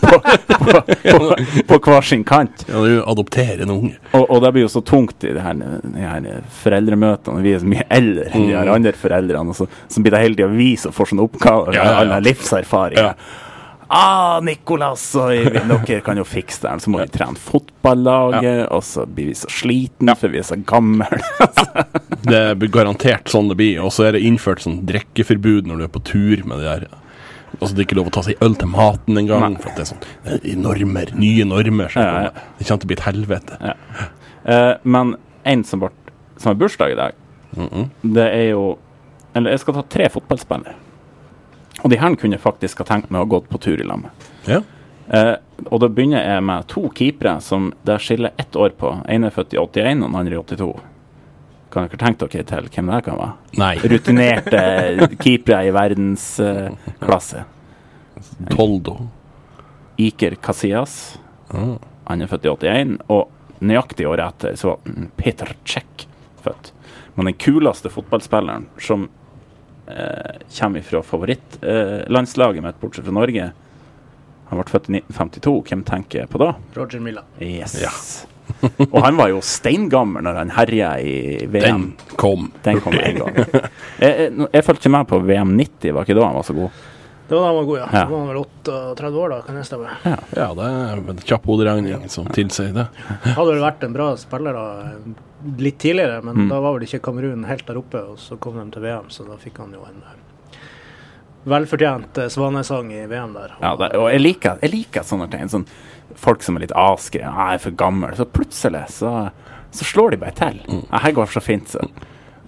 på, på, på, på hver sin kant.
Ja, du adopterer en unge.
Og, og det blir jo så tungt i de her, de her foreldremøtene. Vi er så mye eldre enn
Mm.
de her andre foreldrene. Og så, så blir det hele tida vi som får sånne
Ja,
oppgaver. Ja,
ja, ja.
Alle livserfaringer.
Ja.
Ah, Nicolas og Øyvind, dere kan jo fikse det. her.» Så må vi trene fotballaget, og så blir vi så slitne for vi er så gamle.
Det er garantert sånn det blir. Og så er det innført sånn drikkeforbud når du er på tur med de der. Altså, det er ikke lov å ta seg øl til maten engang.
Nei.
For at det er sånn eh, normer. Nye normer. Så
Ja, ja.
Det kommer til å bli et helvete.
Eh, men en som, ble, som har bursdag i dag, det er jo Eller jeg skal ta tre fotballspillere. Og de her kunne jeg faktisk ha tenkt meg å ha gått på tur i lag med.
Ja.
Eh, og da begynner jeg med to keepere som det skiller ett år på. En er født i 81, og den andre i 82. Kan dere tenke dere til hvem det kan være?
Nei.
Rutinerte keepere i verdensklasse.
Toldo.
Iker Casillas. Han er født i 81, og nøyaktig året etter så var mm, Peter Cech født. Men den kuleste fotballspilleren som eh, kommer fra favorittlandslaget eh, landslaget mitt, bortsett fra Norge, han ble født i 1952. Hvem tenker jeg på da?
Roger Milla.
Yes. og han var jo steingammel når han herja i VM.
Den kom.
Den kom en gang. Jeg, jeg, jeg fulgte ikke med på VM 90, var ikke da han var så god?
Det var da han var god, ja.
Ja.
Da var han vel 38 år, da, kan jeg stemme.
Ja, det er en kjapp hoderegning som tilsier det.
Hadde vel vært en bra spiller da, litt tidligere, men da var vel ikke Kamerun helt der oppe. Og så kom de til VM, så da fikk han jo en eh, velfortjent eh, svanesang i VM der.
Ja, det, og jeg liker, jeg liker sånne ting. Sånn, folk som er litt avskrevet. Ah, 'Jeg er for gammel.' Så plutselig så, så slår de bare til. Ah, 'Her går det så fint', så.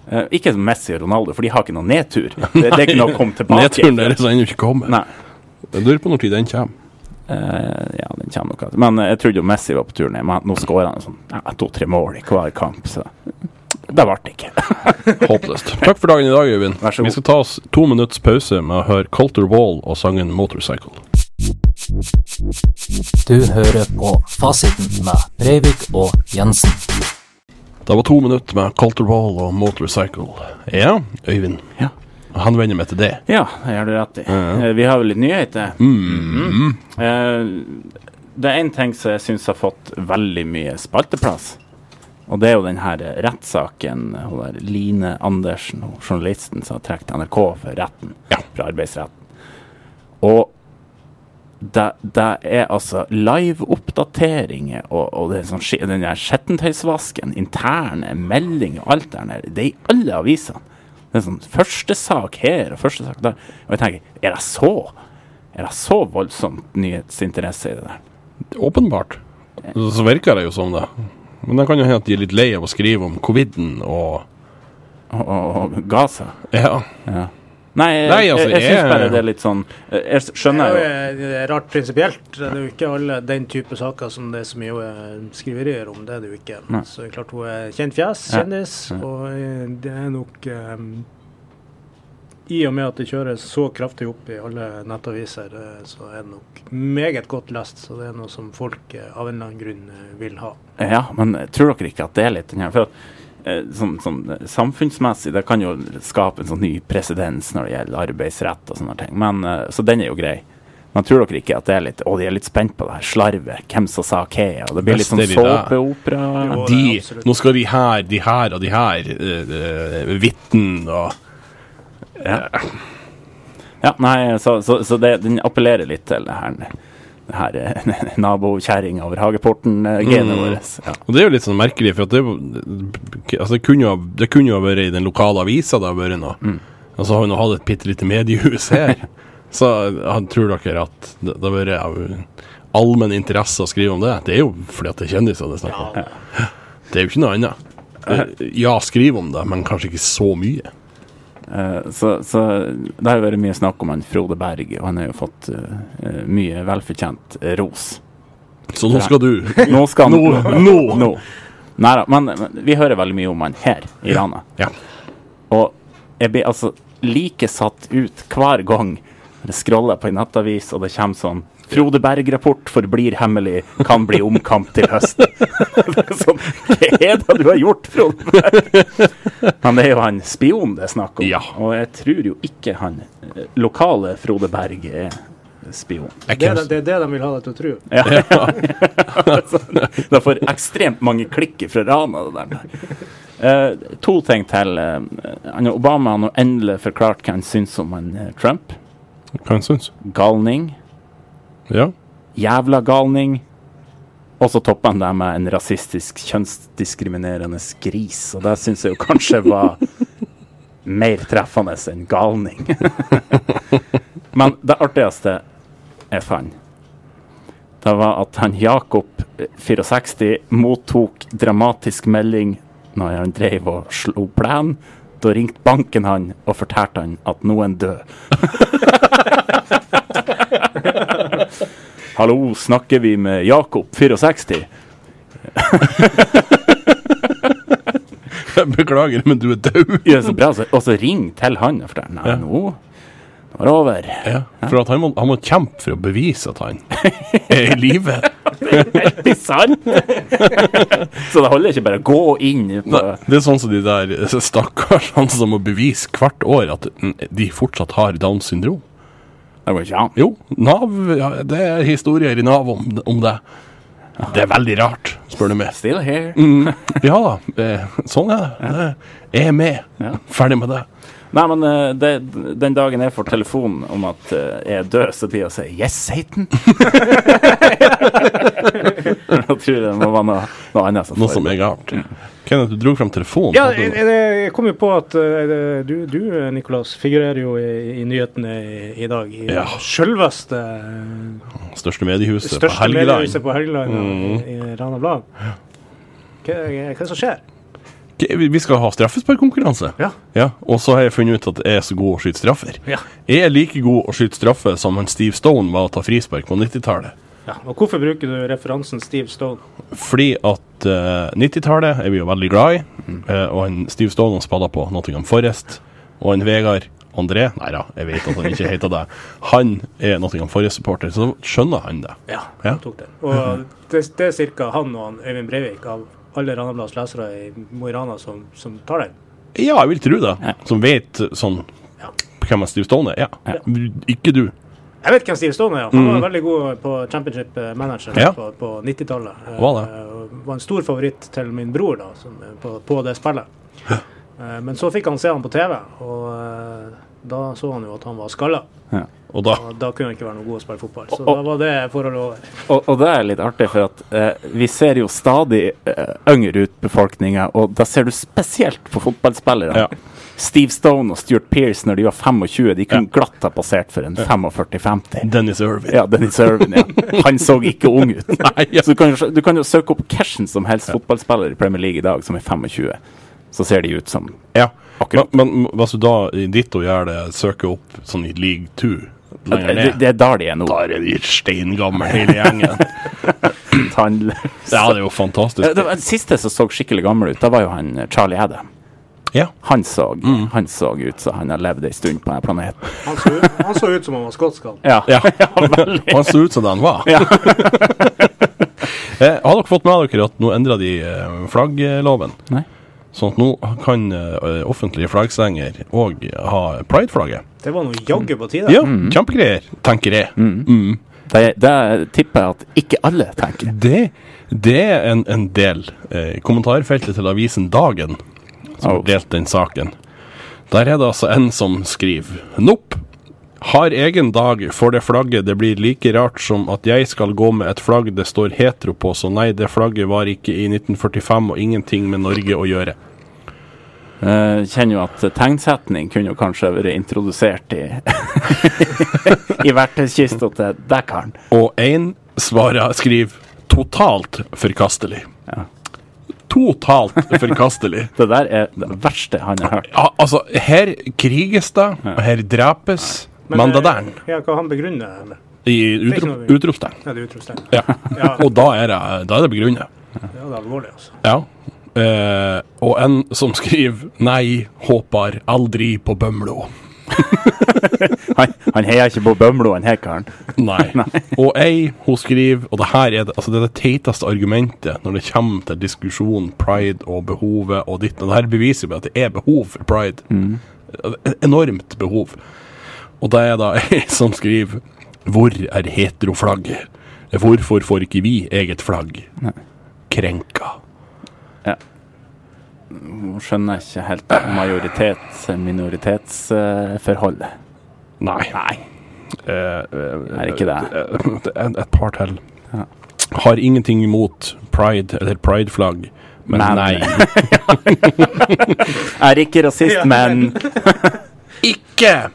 Eh, ikke som Messi og Ronaldo, for de har ikke noen nedtur. Det, det er ikke noe å komme tilbake
Nedturen deres har ennå ikke kommet.
Nei.
Jeg lurer på når tid den kommer.
Eh, ja, den kommer nok. Men eh, jeg trodde jo Messi var på tur ned. Men nå skårer han sånn ja, to-tre mål i hver kamp, så det ble det ikke.
Håpløst. Takk for dagen i dag, Øyvind.
Vær så god.
Vi skal ta oss to minutts pause med å høre Colter Wall og sangen 'Motorcycle'.
Du hører på Fasiten med Breivik og Jensen.
Det var to minutter med Colter Wall og Motorcycle. Ja, Øyvind.
Ja.
Han vender meg til det.
Ja, Mm. det gjør du rett i. Eh, Vi har vel litt nyheter. Eh, det er én ting som jeg syns har fått veldig mye spalteplass. Og det er jo den her eh, rettssaken eh, hun der Line Andersen, hun journalisten som har trukket NRK for retten, fra arbeidsretten. Og det, det er altså live-oppdateringer og, og det er sånn, skje- den der skjettentøysvasken, interne meldinger og alt der nede. Det er i alle avisene. Det er sånn første sak her og første sak der. Og jeg tenker, er det så? Er det så voldsomt nyhetsinteresse i det der?
Åpenbart. Så så virker det jo som det. Men det kan jo hende at de er litt lei av å skrive om coviden og
Og, og, og Gaza?
Ja.
Nei, jeg,
Nei, altså,
jeg, jeg
jeg-
syns bare det er litt sånn eh, Jeg s-
Det
skjønner
er jo
jo
eh, det er rart prinsipielt. Det er jo ikke alle den type saker som det er så mye eh, skriverier om. Det er det jo ikke.
Nei.
Så det er klart hun er kjent fjes,
Ja.
kjendis, og eh, det er nok eh, I og med at det kjøres så kraftig opp i alle nettaviser, eh, så er det nok meget godt lest. Så det er noe som folk eh, av en eller annen grunn eh, vil ha.
Ja, men tror dere ikke at det er litt den her For at eh, sånn, sånn, eh, samfunnsmessig, det kan jo skape en sånn ny presedens når det gjelder arbeidsrett og sånne ting. Men, eh, så den er jo grei. Men tror dere ikke at det er litt Å, de er litt spent på det her slarvet. Hvem som sa hva? Og det blir litt
Visst
sånn
er de det.
såpeopera.
Jo.
De,
absolutt.
nå skal de her, de her eh, og de her uh, vitne og
Ja, nei, så, så, så det, den appellerer litt til det her, det her eh, nabokjerringa over
Mm.
hageporten-genet vårt. Ja.
Og det er jo litt sånn merkelig, for at det, er jo- altså det, kunne, jo ha- det kunne jo ha vært i den lokale avisa det har vært nå. Og så har vi nå hatt et bitte lite mediehus her. så han tror dere at det det har vært av allmenn interesse å skrive om det? Det er jo fordi at det er kjendiser det er snakk om. Det er jo ikke noe annet. Det- Ja, skriv om det, men kanskje ikke så mye.
Eh, Så, så det har jo vært mye snakk om han Frode Berg, og han har jo fått eh, eh, mye velfortjent eh, ros.
Så nå skal du
Nå skal han
Nå, nå.
Nei da, men, men vi hører veldig mye om han her i landet.
Ja.
Og jeg blir altså like satt ut hver gang jeg scroller på en nettavis, og det kommer sånn Frode Berg-rapport forblir hemmelig, kan bli omkamp til høsten. Det er sånn, Hva er det du har gjort, Frode Berg? Men det er jo han spion det er snakk om,
Ja.
og jeg tror jo ikke han eh, lokale Frode Berg er spion.
Jeg
Det er
kan-
det, det, er det de vil ha deg til å tro.
Ja. det får ekstremt mange klikk fra Rana, det der. Eh, to ting til. eh, han Obama har nå endelig forklart hva han syns om han, eh, Trump.
Hva han syns.
Galning.
Ja.
Jævla galning. Og så topper han det med en rasistisk, kjønnsdiskriminerende gris. Og det syns jeg jo kanskje var mer treffende enn galning. Men det artigste jeg fant, det var at han Jakob, eh, 64, mottok dramatisk melding når han drev og slo plen. Da ringte banken han og fortalte han at noen død. Hallo, snakker vi med Jakob, 64?
Jeg beklager, men du er død.
Ja, så bra. Så, og så ring til han og fortell Nei, nå nå er det over.
Ja, for at han, må, han må kjempe for å bevise at han er i live.
Det er sant! så det holder ikke bare å gå inn på
Nei, det er sånn som de der eh, stakkars han som må bevise hvert år at mm, de fortsatt har Downs syndrom.
Det går ikke an.
Jo, Nav, ja, det er historier i Nav om, om det. Det er veldig rart, spør du meg.
Still here.
Mm. Ja da, eh, sånn er det. Det er med.
Ja.
Ferdig med det.
Nei, men eh, det, den dagen jeg får telefonen om at eh, jeg er død, så blir jeg å si 'Yes, Satan'. Da tror jeg det må være noe, noe annet som
Noe som er galt. Kenneth, du dro frem telefonen.
Ja,
Hadde du-
jeg, jeg- jeg kom jo på at eh, du, du Nikolas, figurerer jo i, i nyhetene i, i dag. I
Ja.
selveste
Største mediehuset på
største
Helgeland. Mm.
mediehuset på Helgeland i, i Rana Blad. Hva, hva er det som skjer?
Ok, vi- Vi skal ha straffesparkkonkurranse.
Ja.
Ja, og så har jeg funnet ut at jeg er så god å skyte straffer.
Ja.
Jeg er like god å skyte straffer som han Steve Stone var å ta frispark på 90-tallet.
Ja, og hvorfor bruker du referansen Steve Stone?
Fordi at eh, 90-tallet er vi jo veldig glad i. eh, og han Steve Stone han spiller på Nottingham Forest. Og han Vegard André Nei da, jeg vet at han ikke heter det. Han er Nottingham Forest-supporter, så skjønner han det.
Ja,
Ja.
han tok den. Og det, det er ca. han og han Øyvind Breivik av alle Rana Blads lesere i Mo i Rana som, som tar den.
Ja, jeg vil tro det. Som vet eh, sånn
Ja.
hvem han Steve Stone er. Ja. Ikke du.
Jeg vet hvem Steve Stone er. ja. Han var veldig god på championship eh, manager
Mm. Ja.
på, på 90-tallet. Eh,
Var det.
eh, var en stor favoritt til min bror da, som, eh, på, på det spillet. Eh, Men så fikk han se han på TV, og eh, da så han jo at han var skalla.
Og da
Og da kunne han ikke være noe god å spille fotball. Så
Og-
da var det forholdet over.
Og, og det er litt artig, for at eh, vi ser jo stadig eh, yngre ut befolkninga, og da ser du spesielt på fotballspillere.
Ja.
Steve Stone og Stuart Pearce når de var 25, de kunne glatt ha passert for en 45-50.
Dennis Irvin.
Ja, Dennis Irvin, ja. Han så ikke ung ut.
Nei, ja.
Så du kan, jo s- du kan jo søke opp hvem som helst fotballspiller i Premier League i dag som er 25. Så ser de ut som
Ja, men,
Akkurat.
men hvis du da i ditto gjør det, søker opp sånn i league two lenger
det,
ned,
det er der de er nå.
da er de steingamle hele gjengen.
Tannløse.
ja, det er jo
Eh,
fantastisk.
det var- Den siste som så skikkelig gammel ut, da var jo han eh, Charlie Adam.
Ja.
Han så, han så ut som han har levd ei stund på denne planeten.
Han så, ut- han så ut som han var skotsk. han.
Ja.
Ja. Han så ut som den var.
Ja.
eh, har dere fått med dere at nå endra de eh, flaggloven?
Nei.
Sånn at nå kan eh, offentlige flaggstenger òg ha prideflagget.
Det var noe jaggu på tide.
Ja, Mm. kjempegreier, tenker jeg.
Det, det tipper jeg at ikke alle tenker.
Det, det er en, en del. Eh, i kommentarfeltet til avisen Dagen som har
Oh.
delt den saken. Der er det altså en som skriver Nopp. Har egen dag for det flagget, det blir like rart som at jeg skal gå med et flagg det står hetero på, så nei, det flagget var ikke i 1945 og ingenting med Norge å gjøre.
Eh, kjenner jo at tegnsetning kunne jo kanskje vært introdusert i I verktøyskista til dekkeren.
Og én svarer, skriver 'totalt forkastelig'. Totalt forkastelig.
Det der er det verste han har hørt.
Ja, altså, her kriges det, og her drepes mandaderen
eh, Ja, hva han begrunner det med?
i
ikke
utrop,
noe-
utropstegn.
Ja, det er utropstegn.
Ja.
Ja,
Og da er det, da er det begrunnet.
ja, det er alvorlig, altså.
Ja. Eh, og en som skriver 'Nei, håpar aldri på Bømlo'.
Han, han heier ikke på Bømlo, han heier karen.
Nei. Og ei, hun skriver Og det her er det, altså det, er det teiteste argumentet når det kommer til diskusjon, pride og behovet og ditt. Og det her beviser jo bare at det er behov for pride. Et enormt behov. Og det er da ei som skriver Hvor er heteroflagget? Hvorfor får ikke vi eget flagg? Krenka.
Hun skjønner ikke helt majoritets-minoritetsforholdet.
Nei.
er ikke det?
Eh, Et, et par til. Har ingenting imot pride eller prideflagg, men,
Men.
nei.
Er ikke rasist,
Ja.
men
Ikke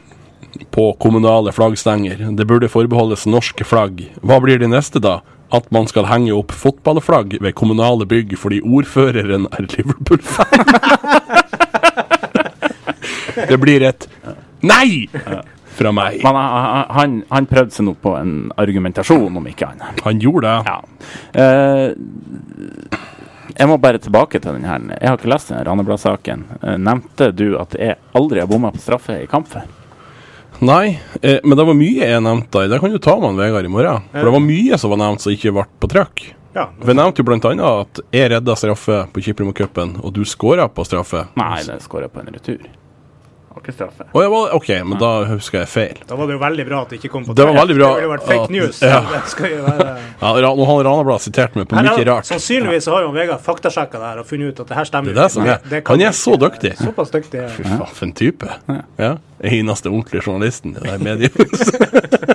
på kommunale flaggstenger. Det burde forbeholdes norske flagg. Hva blir det neste, da? At man skal henge opp fotballflagg ved kommunale bygg fordi ordføreren er Liverpool-fan? det blir et nei fra meg.
Men han, han, han prøvde seg nå på en argumentasjon, om ikke annet.
Han gjorde det.
Ja. Eh, jeg må bare tilbake til den her. Jeg har ikke lest den her Randeblad-saken. Eh, nevnte du at jeg aldri har bomma på straffe i kamp før?
Nei, eh, men det var mye jeg nevnte. Det kan du ta med han Vegard i morgen. For det var mye som var nevnt som ikke ble på trykk.
Ja.
Vi nevnte jo blant annet at jeg redda straffe på Kiprimo-cupen, og du skåra på straffe.
Nei, det skåra på en retur. Det var ikke straffe.
Å, ja, vel, OK, men da husker jeg feil.
Da var det jo veldig bra at det ikke kom på
Det var
trykk.
veldig bra
Det ville vært fake
at-
news.
ja.
Det skal jo være...
Ja, Ra- nå har Ranabladet sitert meg på
Her
mye
har-
rart.
Sannsynligvis har jo Vegard faktasjekka det her og funnet ut at det her
Det
stemmer.
er det som
ikke.
er.
Det kan
Han er
ikke-
så dyktig.
Såpass dyktig. ja.
Fy faen, for en type. Ja. Eneste ordentlige journalisten i det her mediet.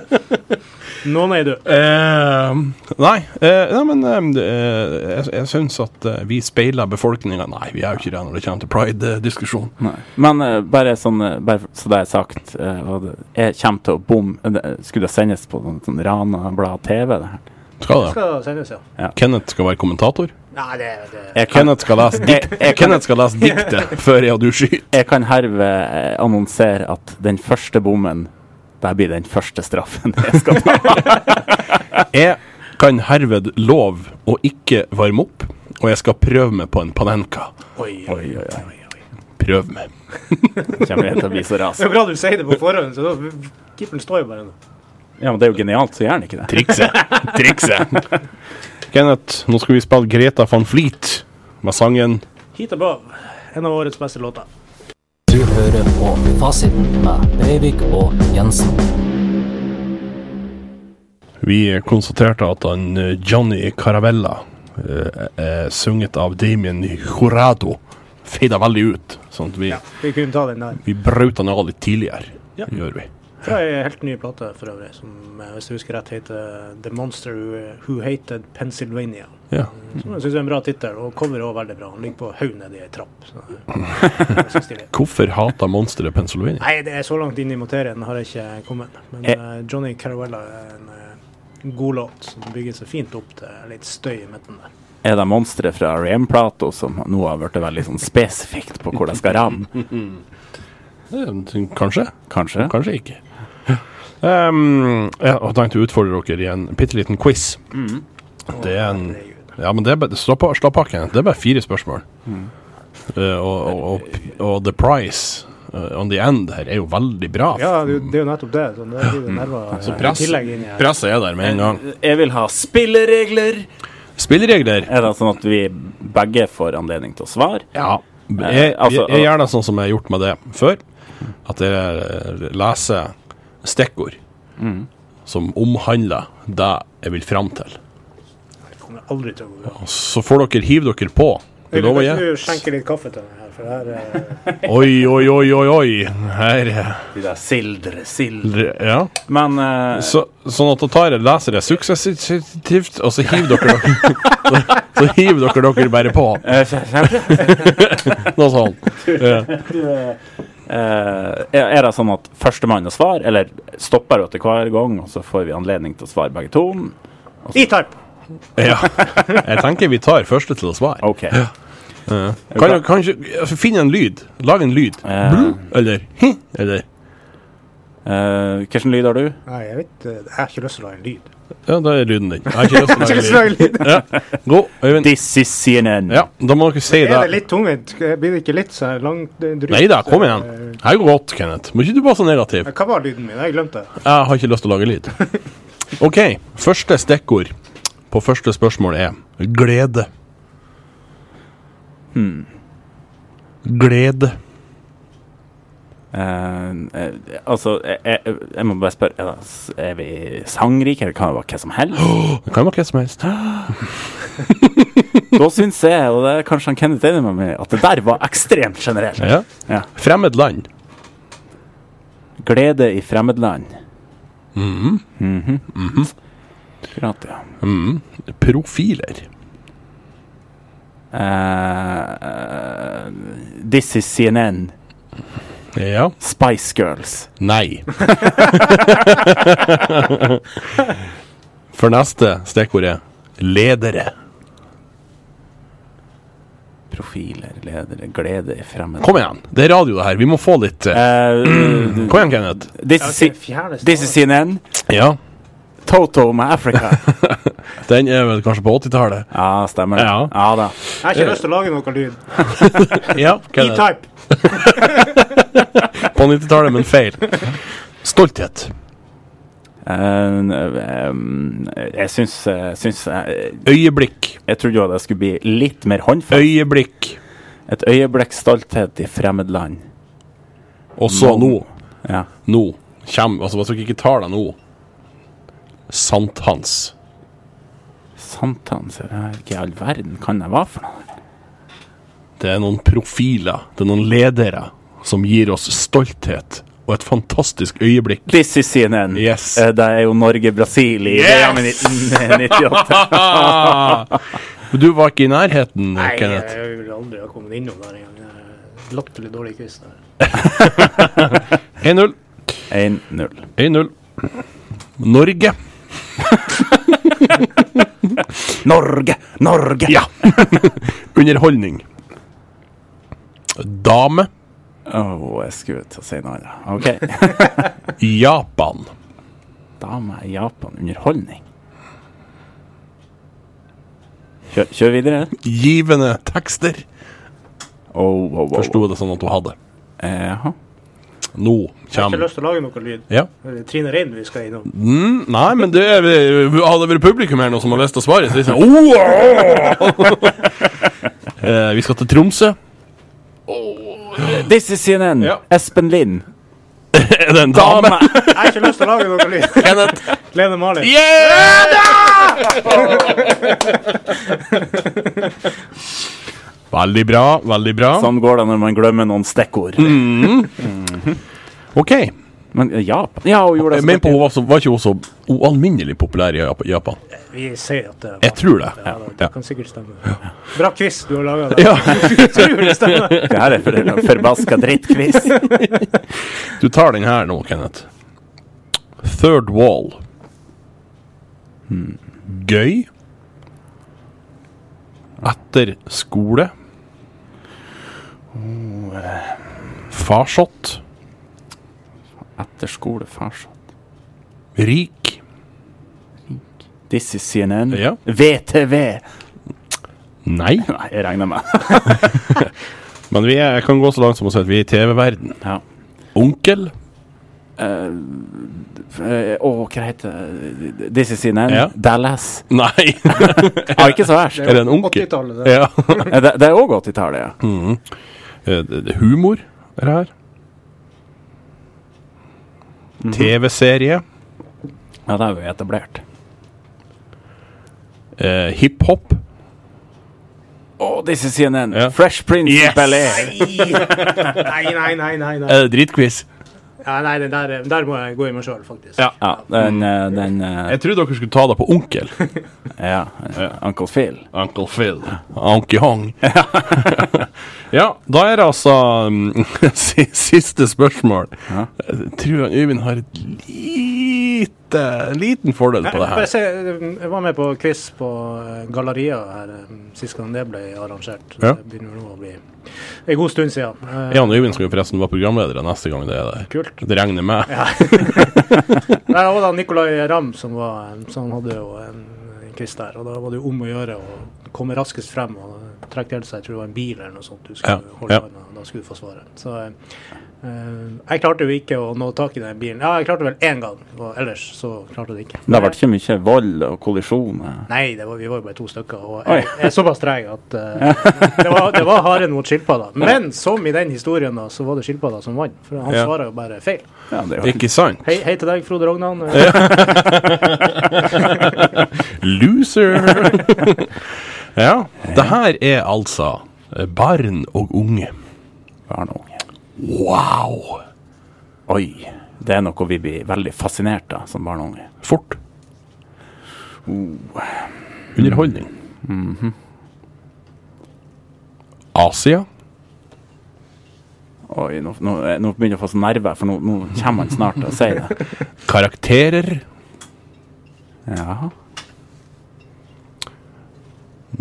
Noen er du.
Eh, nei, eh, nei, men eh, det, eh, jeg, jeg syns at eh, vi speiler befolkninga. Nei, vi er jo ikke det når det kommer til pride-diskusjon.
Nei. Men eh, bare sånn eh, bare så det er sagt eh, og det- Jeg kommer til å bomme eh, det- Skulle det sendes på sånn, sånn Rana-blad-TV? det her?
Skal det?
Skal sendes, ja.
Kenneth skal være kommentator.
Nei, det, det.
Jeg kan,
Kenneth skal lese,
jeg, jeg, kan,
Kenneth skal lese diktet før jeg og du skyter.
jeg kan herved eh, annonsere at den første bommen der blir den første straffen jeg skal ta.
Jeg kan herved lov å ikke varme opp, og jeg skal prøve meg på en panenka.
Oi, oi, oi. oi.
Prøv meg.
Kommer jeg til å bli så ras.
Det er bra du sier det på forhånd, så da Keeperen står jo bare nå.
Ja, men det er jo genialt, så gjør han ikke det.
Trikset. Trikset. Kenneth, nå skal vi spille Greta van Fleet med sangen
Hit above. En av årets beste låter.
Du hører på Fasiten med Breivik og Jensen.
Vi konstaterte at han eh, Johnny Caravella, eh, eh, sunget av Damien Jorado, feida veldig ut. Sånn at vi,
Vi kunne ta den der.
vi brøt han av litt tidligere.
Ja.
Gjør vi.
Fra ei helt ny plate for øvrig, som eh, hvis jeg husker rett heter The Monster Who- Who Hated Pennsylvania.
Ja.
Som jeg syns er en bra tittel, og coveret òg veldig bra. Han ligger på hodet nedi ei trapp. Så. jeg synes det er-
Hvorfor hater monsteret Pennsylvania?
Nei, det er så langt inn i materien har jeg ikke kommet. Men eh, Johnny Caravella er en eh, god låt som bygger seg fint opp til litt støy i midten der.
Er det monstre fra Ram-plata som nå har blitt veldig sånn spesifikt på hvor det skal ramme?
Eh, Kanskje.
Kanskje?
Kanskje ikke. Um, jeg har tenkt å utfordre dere i en bitte liten quiz. Det er en Ja, men det er bare Slapp av, slapp av, Kenneth. Det er bare fire spørsmål. Eh, og, og, og, og the price eh, on the end her er jo veldig bra.
Ja, det, er jo- det er jo nettopp det. Så det blir jo nerver eh, i
Mm. press-
tillegg inn i her.
Presset er der med en gang.
Jeg vil ha spilleregler!
Spilleregler?
Er det sånn at vi begge får anledning til å svare?
Ja.
Eh,
Jeg, jeg,
altså-
jeg gjør det sånn som jeg har gjort med det før. At jeg eh, leser stikkord som omhandler det jeg vil fram til.
Det kommer aldri til å gå bra.
Så får dere hive dere på. Det
Du
lover jeg.
skjenker litt kaffe til meg her. for det her eh,
Oi, oi, oi, oi, oi. Her eh,
De der sildre, sildre
Ja.
Men eh,
Så, sånn at da tar jeg lesere suksessivt, og så hiver dere dere så, så hiver dere dere bare på.
eh, kjempe-
Noe sånt. Ja.
Eh, er er det sånn at førstemann å svare, eller stopper du etter hver gang, og så får vi anledning til å svare begge to?
E-type!
ja. Jeg tenker vi tar første til å svare.
OK.
Kan jeg kanskje altså, Finn en lyd. Lag en lyd.
Eh,
Eller hi, eller
eh, Hvilken lyd har du?
Nei, jeg vet eh, Jeg har ikke lyst til å lage en lyd.
Ja, da er lyden din. Jeg har ikke lyst til å
Jeg har ikke lyst til å
lage lyd.
lage en lyd.
Gå, Øyvind.
This is CNN.
Ja, da må dere si
Er det
det.
litt tungvint? Blir det ikke litt så langt eh, drygt?
Nei da, kom igjen. Her går godt, Kenneth. Må ikke du være så negativ.
Eh, Hva var lyden min? Jeg glemte det.
Jeg har ikke lyst til å lage lyd. OK. Første stikkord på første spørsmål er glede. Hmm. Glede.
Eh, eh, altså, jeg, jeg, jeg må bare spørre Er, det, s- er vi sangrike, eller kan det være hva som helst?
Det kan være hva som helst.
Da syns jeg, og det er kanskje han Kenneth enig med meg, at det der var ekstremt generelt.
Ja.
Ja.
Fremmed land.
Glede i fremmedland.
Mm-hmm.
Mhm. Akkurat, ja.
Profiler.
Eh, this is CNN.
Ja.
Spice Girls.
Nei. For neste stikkord er ledere.
Profiler, ledere, glede i fremmed
Kom igjen. Det er radio, det her. Vi må få litt eh,
Eh,
Kom igjen, Kenneth.
this, is,
Okay, fjerne
this is CNN.
Ja.
Toto med Africa.
Den er vel kanskje på 80-tallet.
Ja, stemmer det.
Ja.
Ja da.
Jeg har ikke lyst til å lage noe lyd.
Ja, Kenneth.
E-type!
På 90-tallet, men feil. Stolthet.
Eh, em, jeg syns, eh, syns eh,
Øyeblikk.
Jeg trodde jo at jeg skulle bli litt mer håndfast.
Øyeblikk.
Et øyeblikks stolthet i fremmedland.
Og så nå.
Ja.
Nå kommer Altså, hvis dere ikke tar det nå Sankthans.
Sankthans Hva i all verden kan det være for noe?
Det er noen profiler, det er noen ledere, som gir oss stolthet og et fantastisk øyeblikk.
This is CNN.
Yes.
Eh, det er jo Norge-Brasil i VM i 1998.
Men Du var ikke i nærheten,
Nei,
Kenneth.
jeg ville aldri ha kommet innom der engang. Latterlig dårlig quiz. der.
1-0.
1-0.
1-0. Norge.
Norge! Norge!
Ja. Underholdning. Dame.
Åh, jeg skulle til å si noe annet. Ok.
Japan.
Dame i Japan. Underholdning. Kjør, kjør videre.
Givende tekster.
Oh, wow, wow.
Forsto jeg det sånn at du hadde.
Eh, jaha.
Nå
Jeg har ikke
kommer
lyst til å lage noe lyd.
Ja.
Det er Trine Rein vi skal innom.
Mm, nei, men det er, hadde det vært publikum her nå som har lyst til å svare, så er det sånn oh, åh!» Eh, Vi skal til Tromsø.
This is CNN.
Ja.
Espen Lind.
Er det en dame?
Dame!
Jeg har ikke lyst til å lage noe lyd.
Kenneth.
Lene Malin.
Yeah! veldig bra, veldig bra.
Sånn går det når man glemmer noen stikkord.
Mm. OK.
Men eh, Japan Ja, hun gjorde det. så
Men på,
godt.
hun var, så, var ikke hun så ualminnelig populær i Jap- Japan?
Vi sier at det
Jeg tror det.
Ja, det,
Ja.
det kan sikkert stemme. Bra quiz du har laga der.
Ja,
Tror det stemmer.
Det her er for en forbaska drittquiz.
Du tar den her nå, Kenneth. Third wall. Hmm. Gøy. Etter skole. Farsott.
Etter skole, farsott.
Rik.
This is CNN.
Ja.
VTV!
Nei.
Nei, jeg regner med
Men vi er, jeg kan gå så langt som å si at vi er i TV-verden.
Ja.
Onkel.
Eh, Å, hva heter det? This is CNN.
Ja.
Dallas.
Nei.
Ja, Mm. ikke så verst.
er det en onkel?
80-tallet, det.
Ja.
Eh, Det, det er òg 80-tallet, ja.
Eh, det- det- Humor er det her. Mhm. TV-serie.
Ja, det er jo etablert.
eh, hiphop
Oh, this is CNN.
Ja.
Fresh Prince
Yes!
of Bel-Air.
Nei, nei, nei. nei, nei.
Er det dritquiz?
Ja, nei den der, eh, der må jeg gå i meg sjøl, faktisk.
Ja.
Ja, den, eh, den eh,
Jeg trodde dere skulle ta det på onkel.
ja, Uncle Phil.
Uncle Phil. Onky Hong. ja, da er det altså mm, si- siste spørsmål. Jeg tror han Øyvind har et lite, en liten fordel på det
Bare
her.
se, eh, jeg var med på quiz på eh, Galleria her eh, sist gang det ble arrangert.
Ja.
Det begynner nå å bli en god stund siden. Eh,
Jan Øyvind skal jo forresten være programleder neste gang det er der.
Kult.
Det regner med.
Nei, det var da Nicolay Ramm som var som hadde jo en, en quiz der. Og da var det jo om å gjøre å komme raskest frem og trekke til seg jeg tror det var en bil eller noe sånt du skulle
Ja,
holde
ja.
hånda, og da skulle du få svaret. Så eh, jeg klarte jo ikke å nå tak i den bilen. Ja, jeg klarte vel én gang, og ellers så klarte jeg det ikke.
Det har vært ikke mye vold og eh. kollisjoner.
Nei, det var, vi var jo bare to stykker. Og
Oi.
jeg, jeg er såpass treg at eh, det, var, det var haren mot skilpadda. Men som i den historien, da, så var det skilpadda som vant. For han
Ja.
svarer jo bare feil.
Ja, det er jo
Ikke sant?
Hei, hei til deg, Frode Rognan.
Loser! ja. Det her er altså eh, barn og unge.
barn og unge.
Wow!
Oi. Det er noe vi blir veldig fascinert av som barn og unge.
Fort. Underholdning. Asia.
Oi, nå, nå, nå begynner jeg å få sånn nerver, for nå, nå kommer han snart til å si det.
Karakterer.
Ja.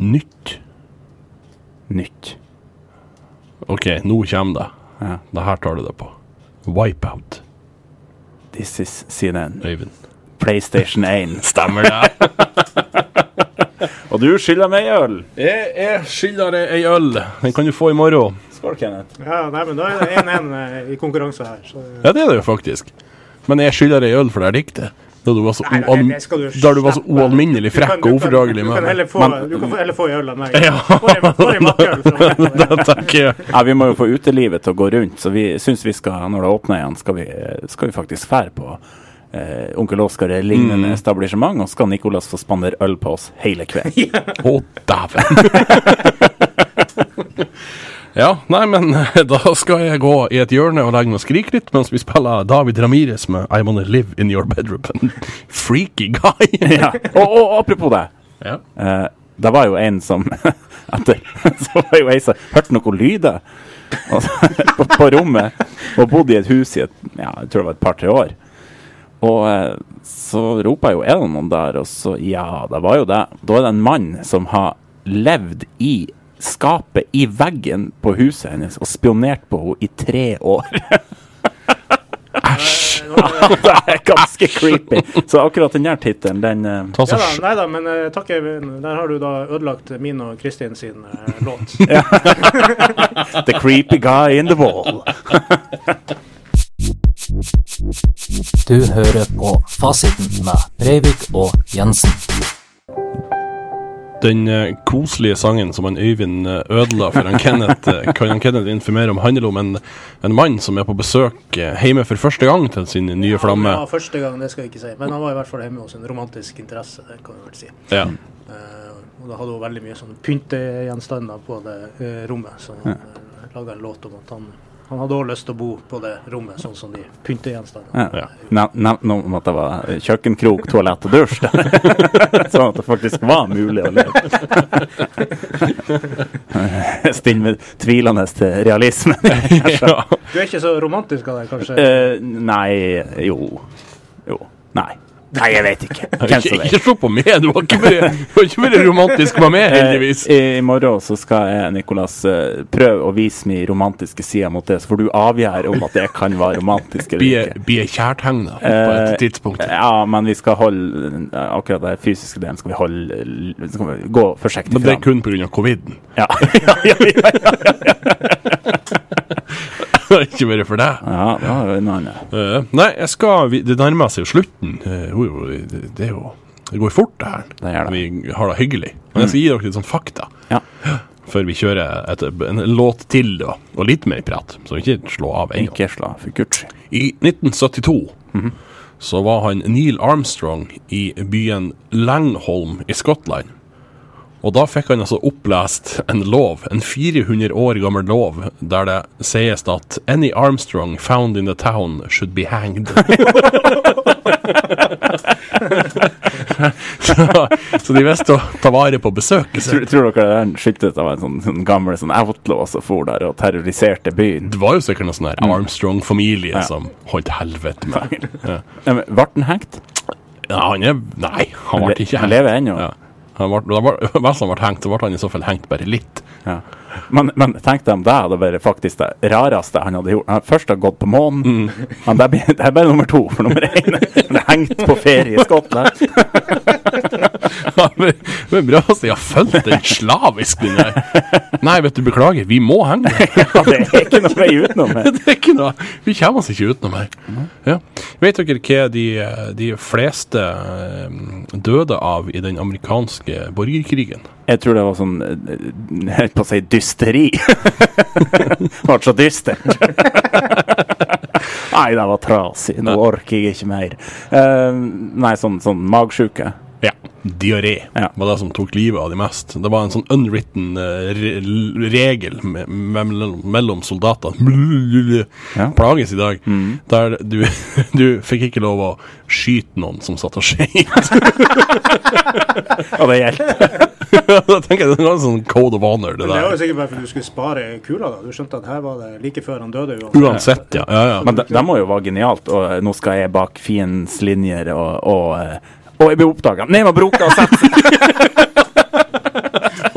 Nytt.
Nytt.
OK, nå kommer det.
Ja.
Det her tar du deg på. Wipeout,
This is CNN.
Øyvind.
PlayStation 1.
Stemmer det?
Og du skylder meg øl!
jeg jeg skylder deg ei øl. Den kan du få i morgen.
Skål, Kenneth.
Ja, nei, men da er det 1-1 eh, i konkurranse her. Så, eh,
Ja, det er det jo faktisk. Men jeg skylder deg ei øl for det er diktet. Da du var så,
nei,
ual-
det- det skal du
da du var så
slippe.
ualminnelig
Du kan-
frekk
du
og
kan-
ufordragelig
Du
med
kan
meg.
heller få, du kan heller få øl enn meg. Får jeg- får jeg matøl fra meg.
Det tenker jeg.
Ja, vi må jo få utelivet til å gå rundt, så vi syns vi skal, når det åpner igjen, skal vi, eh, skal vi faktisk fære på eh, Onkel Oskar er lignende etablissement, og skal Nicolas få spandere øl på oss hele kvelden.
Å, dæven! ja, nei, men eh, da skal jeg gå i et hjørne og legge meg og skrike litt mens vi spiller David Ramirez med I Wanna Live In Your Bedroom. Freaky guy!
ja. og, og apropos det.
ja.
Eh, det var jo en som etter, Så var jo ei som hørte noen lyder og så- på, på rommet. Og bodde i et hus i et, ja, jeg tror det var et par-tre år. Og eh, så ropa jo er det noen der, og så Ja, det var jo det. Da er det en mann som har levd i skapet i veggen på huset hennes og spionert på henne i tre år. Æsj! det er ganske creepy. Så akkurat den der tittelen, den eh,
Ta
Ja
så
da,
sj-
nei da, men eh, takk Øyvind. Der har du da ødelagt min og Kristin sin eh, låt.
The creepy guy in the wall.
Du hører på Fasiten med Breivik og Jensen.
Den eh, koselige sangen som han Øyvind eh, ødela for han Kenneth, eh, kan han Kenneth informere om, handler om en, en mann som er på besøk eh, hjemme for første gang til sin nye flamme.
Ja, første gang, det skal jeg ikke si. Men han var i hvert fall hjemme hos en romantisk interesse, det kan vi vel si.
Ja.
Eh, og da hadde hun veldig mye sånne pyntegjenstander på det eh, rommet, så han uh, laga en låt om at han, han hadde også lyst til å bo på det rommet, sånn som de pyntegjenstandene.
Ja. Nev- Nevnte noe om at det var kjøkkenkrok, toalett og dusj. der. sånn at det faktisk var mulig å leve. Stinn med tvilende til realismen.
ja.
Du er ikke så romantisk av deg, kanskje?
Eh, nei Jo. Jo. Nei. Nei, jeg vet ikke. Hvem
Ikke,
som
ikke
vet.
se på meg, du var ikke mer, du var ikke mer romantisk med meg, heldigvis.
Eh, I, I morgen så skal jeg, Nicolas, eh, prøve å vise min romantiske side mot det, så får du avgjøre om at jeg kan være romantisk eller
Blir
ikke.
blir kjærtegna på
Eh,
et tidspunkt.
Ja, men vi skal holde eh, Akkurat den fysiske delen skal vi holde eh, skal vi Gå forsiktig
Men det er
fram.
kun pga. covid-en.
Ja. ja, ja, ja, ja.
Ikke bare for deg.
ja, det var jo en annen.
Eh, nei, jeg skal vi, Det nærmer seg jo slutten. Eh, jo, jo, det, det er jo Det går fort, det her.
gjør det.
Vi har det hyggelig. Men jeg skal gi dere litt sånn fakta
Ja.
før vi kjører et, en låt til, da. Og litt mer prat, så ikke slå av ennå.
Ikke slå for guds skyld.
I 1972 så var han Neil Armstrong i byen Langholm i Skottland. Og da fikk han altså opplest en lov, en 400 år gammel lov, der det sies at any Armstrong found in the town should be hanged. så, så de visste å ta vare på besøket sitt.
Tror, tror dere det er skyttet av en sånn, sånn gammel sånn outlaw som for der og terroriserte byen?
Det var jo sikkert noen sånn her Armstrong-familie
Mm. Ja.
som holdt helvete med.
Nei, men Ble han hengt?
Ja, han er Nei, han ble ikke
Han
hengt.
lever ennå.
Ja. Han ble, da ble, hvis han ble hengt, så ble han i så fall hengt bare litt.
Ja. Men, men tenk deg om det hadde vært faktisk det rareste han hadde gjort. Han først har gått på
Mm.
månen, men det er, bare- det er bare nummer to. For nummer én han er hengt på ferie i Skottland.
Ja, men, men bra at de har fulgt den slavisk, den der. Nei, vet du, beklager, vi må henge.
Ja, det er ikke noe vei utenom. her.
Det er ikke noe Vi kommer oss ikke utenom her. Ja. Vet dere hva de, de fleste eh, døde av i den amerikanske borgerkrigen?
Jeg tror det var sånn eh, Jeg holdt på å si dysteri. Det ble så dystert. Nei, det var trasig. Nå orker jeg ikke mer. Eh, nei, sånn, sånn magsjuke.
Ja. Diaré
Ja.
var det som tok livet av de mest. Det var en sånn unwritten eh, re regel me mellom, mellom soldatene
Ja. Mm.
Plages i dag. Der du, du fikk ikke lov å skyte noen som satt og skjøt.
Og det gjelder.
da tenker jeg det var en sånn code of honor, det
Men det var jo
der.
sikkert bare fordi du skulle spare kula. da. Du skjønte at her var det like før han døde. uansett.
Uansett, ja. ja, ja.
Men det, det må jo være genialt. Og eh, nå skal jeg bak fiendens linjer, og, og eh, og jeg blir oppdaga. Ned med broka og sett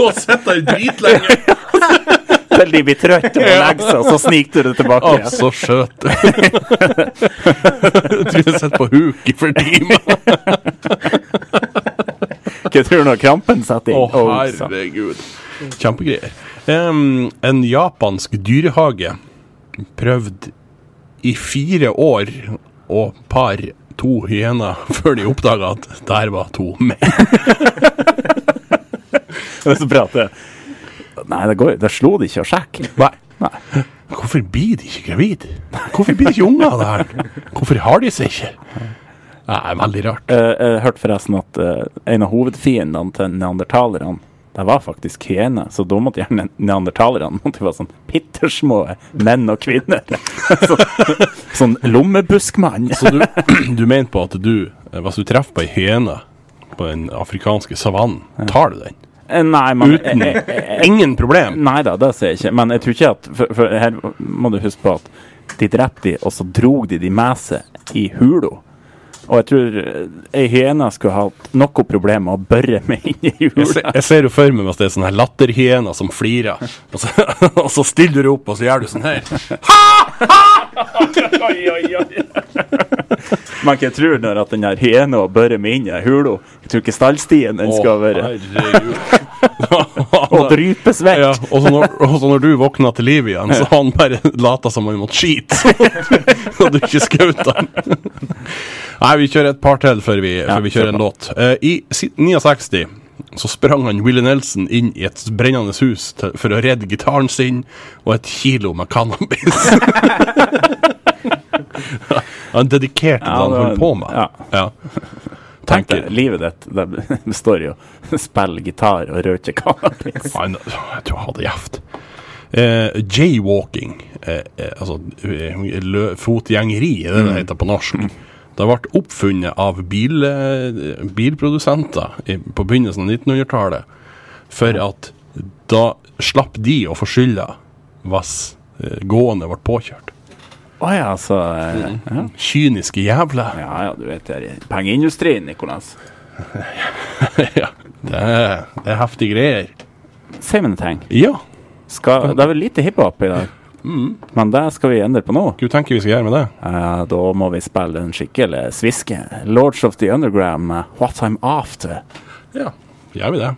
Å sitte der dritlenge!
til de blir trøtte og legger seg, og så sniker du det tilbake.
Å,
igjen.
så skjøt. jeg tror jeg sitter på huk i flere timer.
Hva tror du når krampen setter
Å,
inn? Oh, sant.
herregud. Kjempegreier. Em, en japansk dyrehage prøvde i fire år å pare to hyener før de oppdaga at der var to menn.
Det er så bra at det Nei, det, går, jo- det slo de ikke å sjekke.
Nei. Hvorfor blir de ikke gravide? Hvorfor blir de ikke unger av det her? Hvorfor har de seg ikke? Det er veldig rart.
Eh, Jeg hørte forresten at eh, en av hovedfiendene til neandertalerne det var faktisk hyener, så da måtte gjerne neandertalerne måtte være sånn pittersmå menn og kvinner. Så, sånn lommebuskmann.
Så du, du mener på at du, eh, hvis du treffer på ei hyene på den afrikanske savannen, tar du den?
Eh, Nei, men
Uten ingen problem?
Nei da, det sier jeg ikke. Men jeg tror ikke at For, for her må du huske på at de drepte de, og så drog de de med seg i hula. Og jeg tror eh, ei hyene skulle hatt noe problem med å børre meg inn i
Jeg ser,
hula.
jeg ser jo for meg hvis det er sånne her latterhyener som flirer, og så, og så stiller du opp og så gjør du sånn her.
Man kan tro når at den her hyena børrer meg inn i hula. Jeg tror ikke stallstien den skal være. Og
herregud.
drypes vekk.
Ja, og så, når, og så når du våkna til liv igjen, så han bare lata som han måtte skite. Og du ikke skjøt han. Nei, vi kjører et par til før vi, før vi
kjør
kjører en låt. Eh, I si- 69 så sprang han Willie Nelson inn i et brennende hus til, for å redde gitaren sin og et kilo med cannabis. han dedikerte det
Ja,
han
det var-
holdt på med.
ja.
Ja.
Tenk
Tenker,
deg, livet ditt det består jo av spill gitar og røyke cannabis.
Nei, nå- jeg tror jeg hadde gjevt. Eh, jaywalking, eh, eh, altså eh, lø, fotgjengeri, er det det heter på norsk. Det ble oppfunnet av bil, eh, bilprodusenter i, på begynnelsen av 1900-tallet. For at da slapp de å få skylda hvis eh, gående ble påkjørt.
Å ja, så eh, ja.
Kyniske jævler.
ja ja, du vet det er i pengeindustrien, Nikolas.
Ja. Det, er- det er heftige greier.
Si meg en ting.
Ja,
Skal, det er vel lite hiphop i dag, men det skal vi endre på nå.
hva tenker vi skal gjøre med det?
Eh, da må vi spille en skikkelig sviske. Lords of the Underground med What I'm After.
Ja, gjør vi det.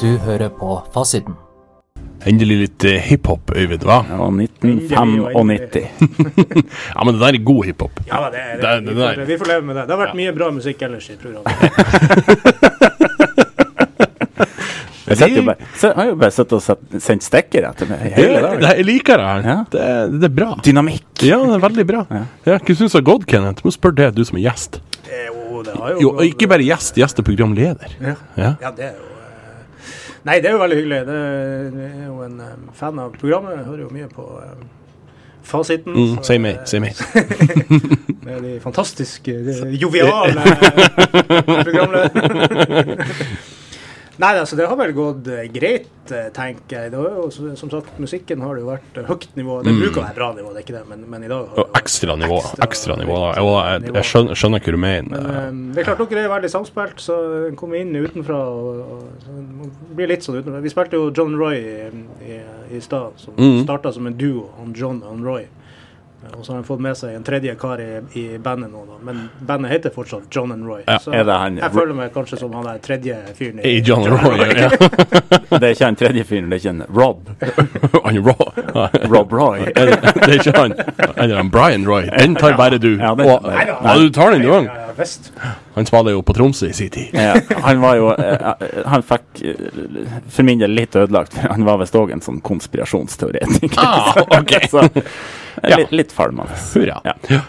Du hører på Fasiten.
Endelig litt eh, hiphop, Øyvind. hva?
Det var 1995.
Ja, men det der er god hiphop.
Ja, da, det, er-
Det er- det
vi, får,
der.
vi får leve med det. Det har vært mye bra musikk ellers i programmet.
Jeg satt jo bare, så, har jo bare sittet og sett, sendt stikker etter meg i hele
Det,
dag.
det, jeg liker det her.
Ja.
Det, er- det er bra.
Dynamikk.
Ja, det er veldig bra. Ja. Hva syns du har gått, Kenneth? Du må spørre det, du som er gjest.
Det er jo- det har jo
Jo,
gått-
og ikke bare gjest, gjest er programleder.
Ja.
Ja.
Ja, det er jo eh, Nei, det er jo veldig hyggelig. Det er- jeg er jo en eh, fan av programmet. Jeg hører jo mye på eh, fasiten.
Mm,
så,
si mer,
eh,
si mer.
Med de fantastiske, de joviale programlederne. Nei, altså, det har vel gått eh, greit, eh, tenker jeg. Det har jo, som- som sagt, musikken har det jo vært eh, høyt nivå. Det bruker å være bra nivå, det er ikke det, men, men i dag har
Og
det jo-
ekstra nivå.
Ekstra-
Ekstra nivå. da. Jo, jeg, jeg skjønner, skjønner hva du mener.
Men, eh, det er klart dere er veldig samspilt, så en kommer inn utenfra og, og så en må bli litt sånn utenfra. Vi spilte jo John Roy i, i, i stad, som
Mhm.
starta som en duo, han John og han Roy. Eh, Og så har han fått med seg en tredje kar i, i bandet nå, da. men bandet heter fortsatt John and Roy. så
er det han-
jeg føler meg kanskje som han der tredje fyren
I John Roy. Ja.
Det er ikke han tredje fyren, det er ikke en Rob.
Han Roy.
Rob Roy.
Er det det er ikke han. Eller han Brian Roy. Den tar bare du.
Ja,
Og,
den- Nei
da.
ja, du tar den, du
Ja,
òg.
ja, ja, visst.
Han spiller jo på Tromsø i sin tid.
Ja, han var jo eh, eh, Han fikk eh, for min del litt ødelagt, for han var visst òg en sånn konspirasjonsteoretiker.
Ah, ok.
Så eh,
Ja.
litt, litt falmende.
Hurra.
Ja.
Ja,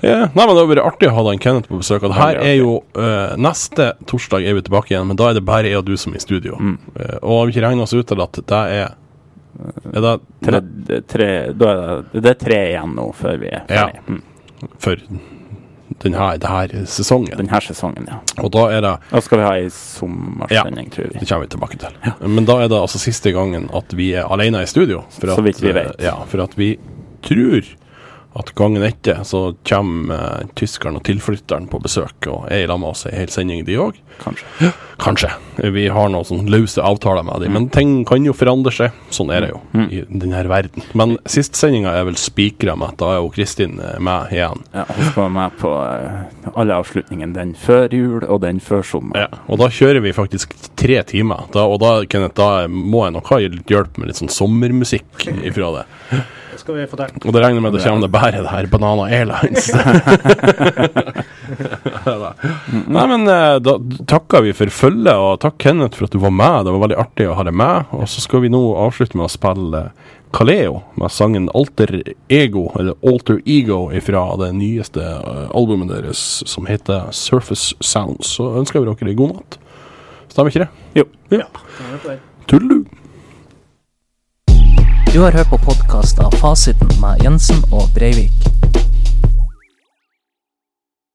Eh, nei, men Det hadde vært artig å ha den Kenneth på besøk. Og det her
Veldig
er jo eh, Neste torsdag er vi tilbake igjen, men da er det bare jeg og du som er i studio.
Mm.
Eh, og har vi ikke regna oss ut til at det er Er det
Tre, tre, da er det, det er tre igjen nå før vi er
Ja.
ferdig. Mm.
for den her, det her sesongen?
Denne sesongen, ja.
Og da er det
Da skal vi ha ei sommersending, tror
Det
vi.
kommer vi tilbake til. Men da er det altså siste gangen at vi er alene i studio. For eh,
Så vidt vi vet.
Ja, for at vi tror at gangen etter så kommer eh, tyskeren og tilflytteren på besøk og er i lag med oss ei hel sending, de òg.
Kanskje.
Kanskje. Vi har noen sånn løse avtaler med dem, men ting kan jo forandre seg. Sånn er det jo i denne verden. Men sistsendinga er vel spikra med at da er jo Kristin eh, med igjen.
Ja, hun skal være med på eh, alle avslutningene. Den før jul og den før sommer.
Ja, og da kjører vi faktisk tre timer. Da, og da, Kenneth, da må jeg nok ha litt hjelp med litt sånn sommermusikk ifra det.
Det skal vi få til.
Og det regner jeg med at det kommer det bare det her Banana Airlines. Nei, men eh, da takker vi for følget, og takk Kenneth for at du var med. Det var veldig artig å ha deg med. Og så skal vi nå avslutte med å spille Kaleo med sangen Alter Ego, eller Alter Ego, fra det nyeste eh, albumet deres som heter Surface Sounds. Så ønsker vi dere god natt. Stemmer ikke det?
Jo.
Ja.
Kan vi høre på det?
Tullu!
Du har hørt på podkast av Fasiten med Jensen og Breivik.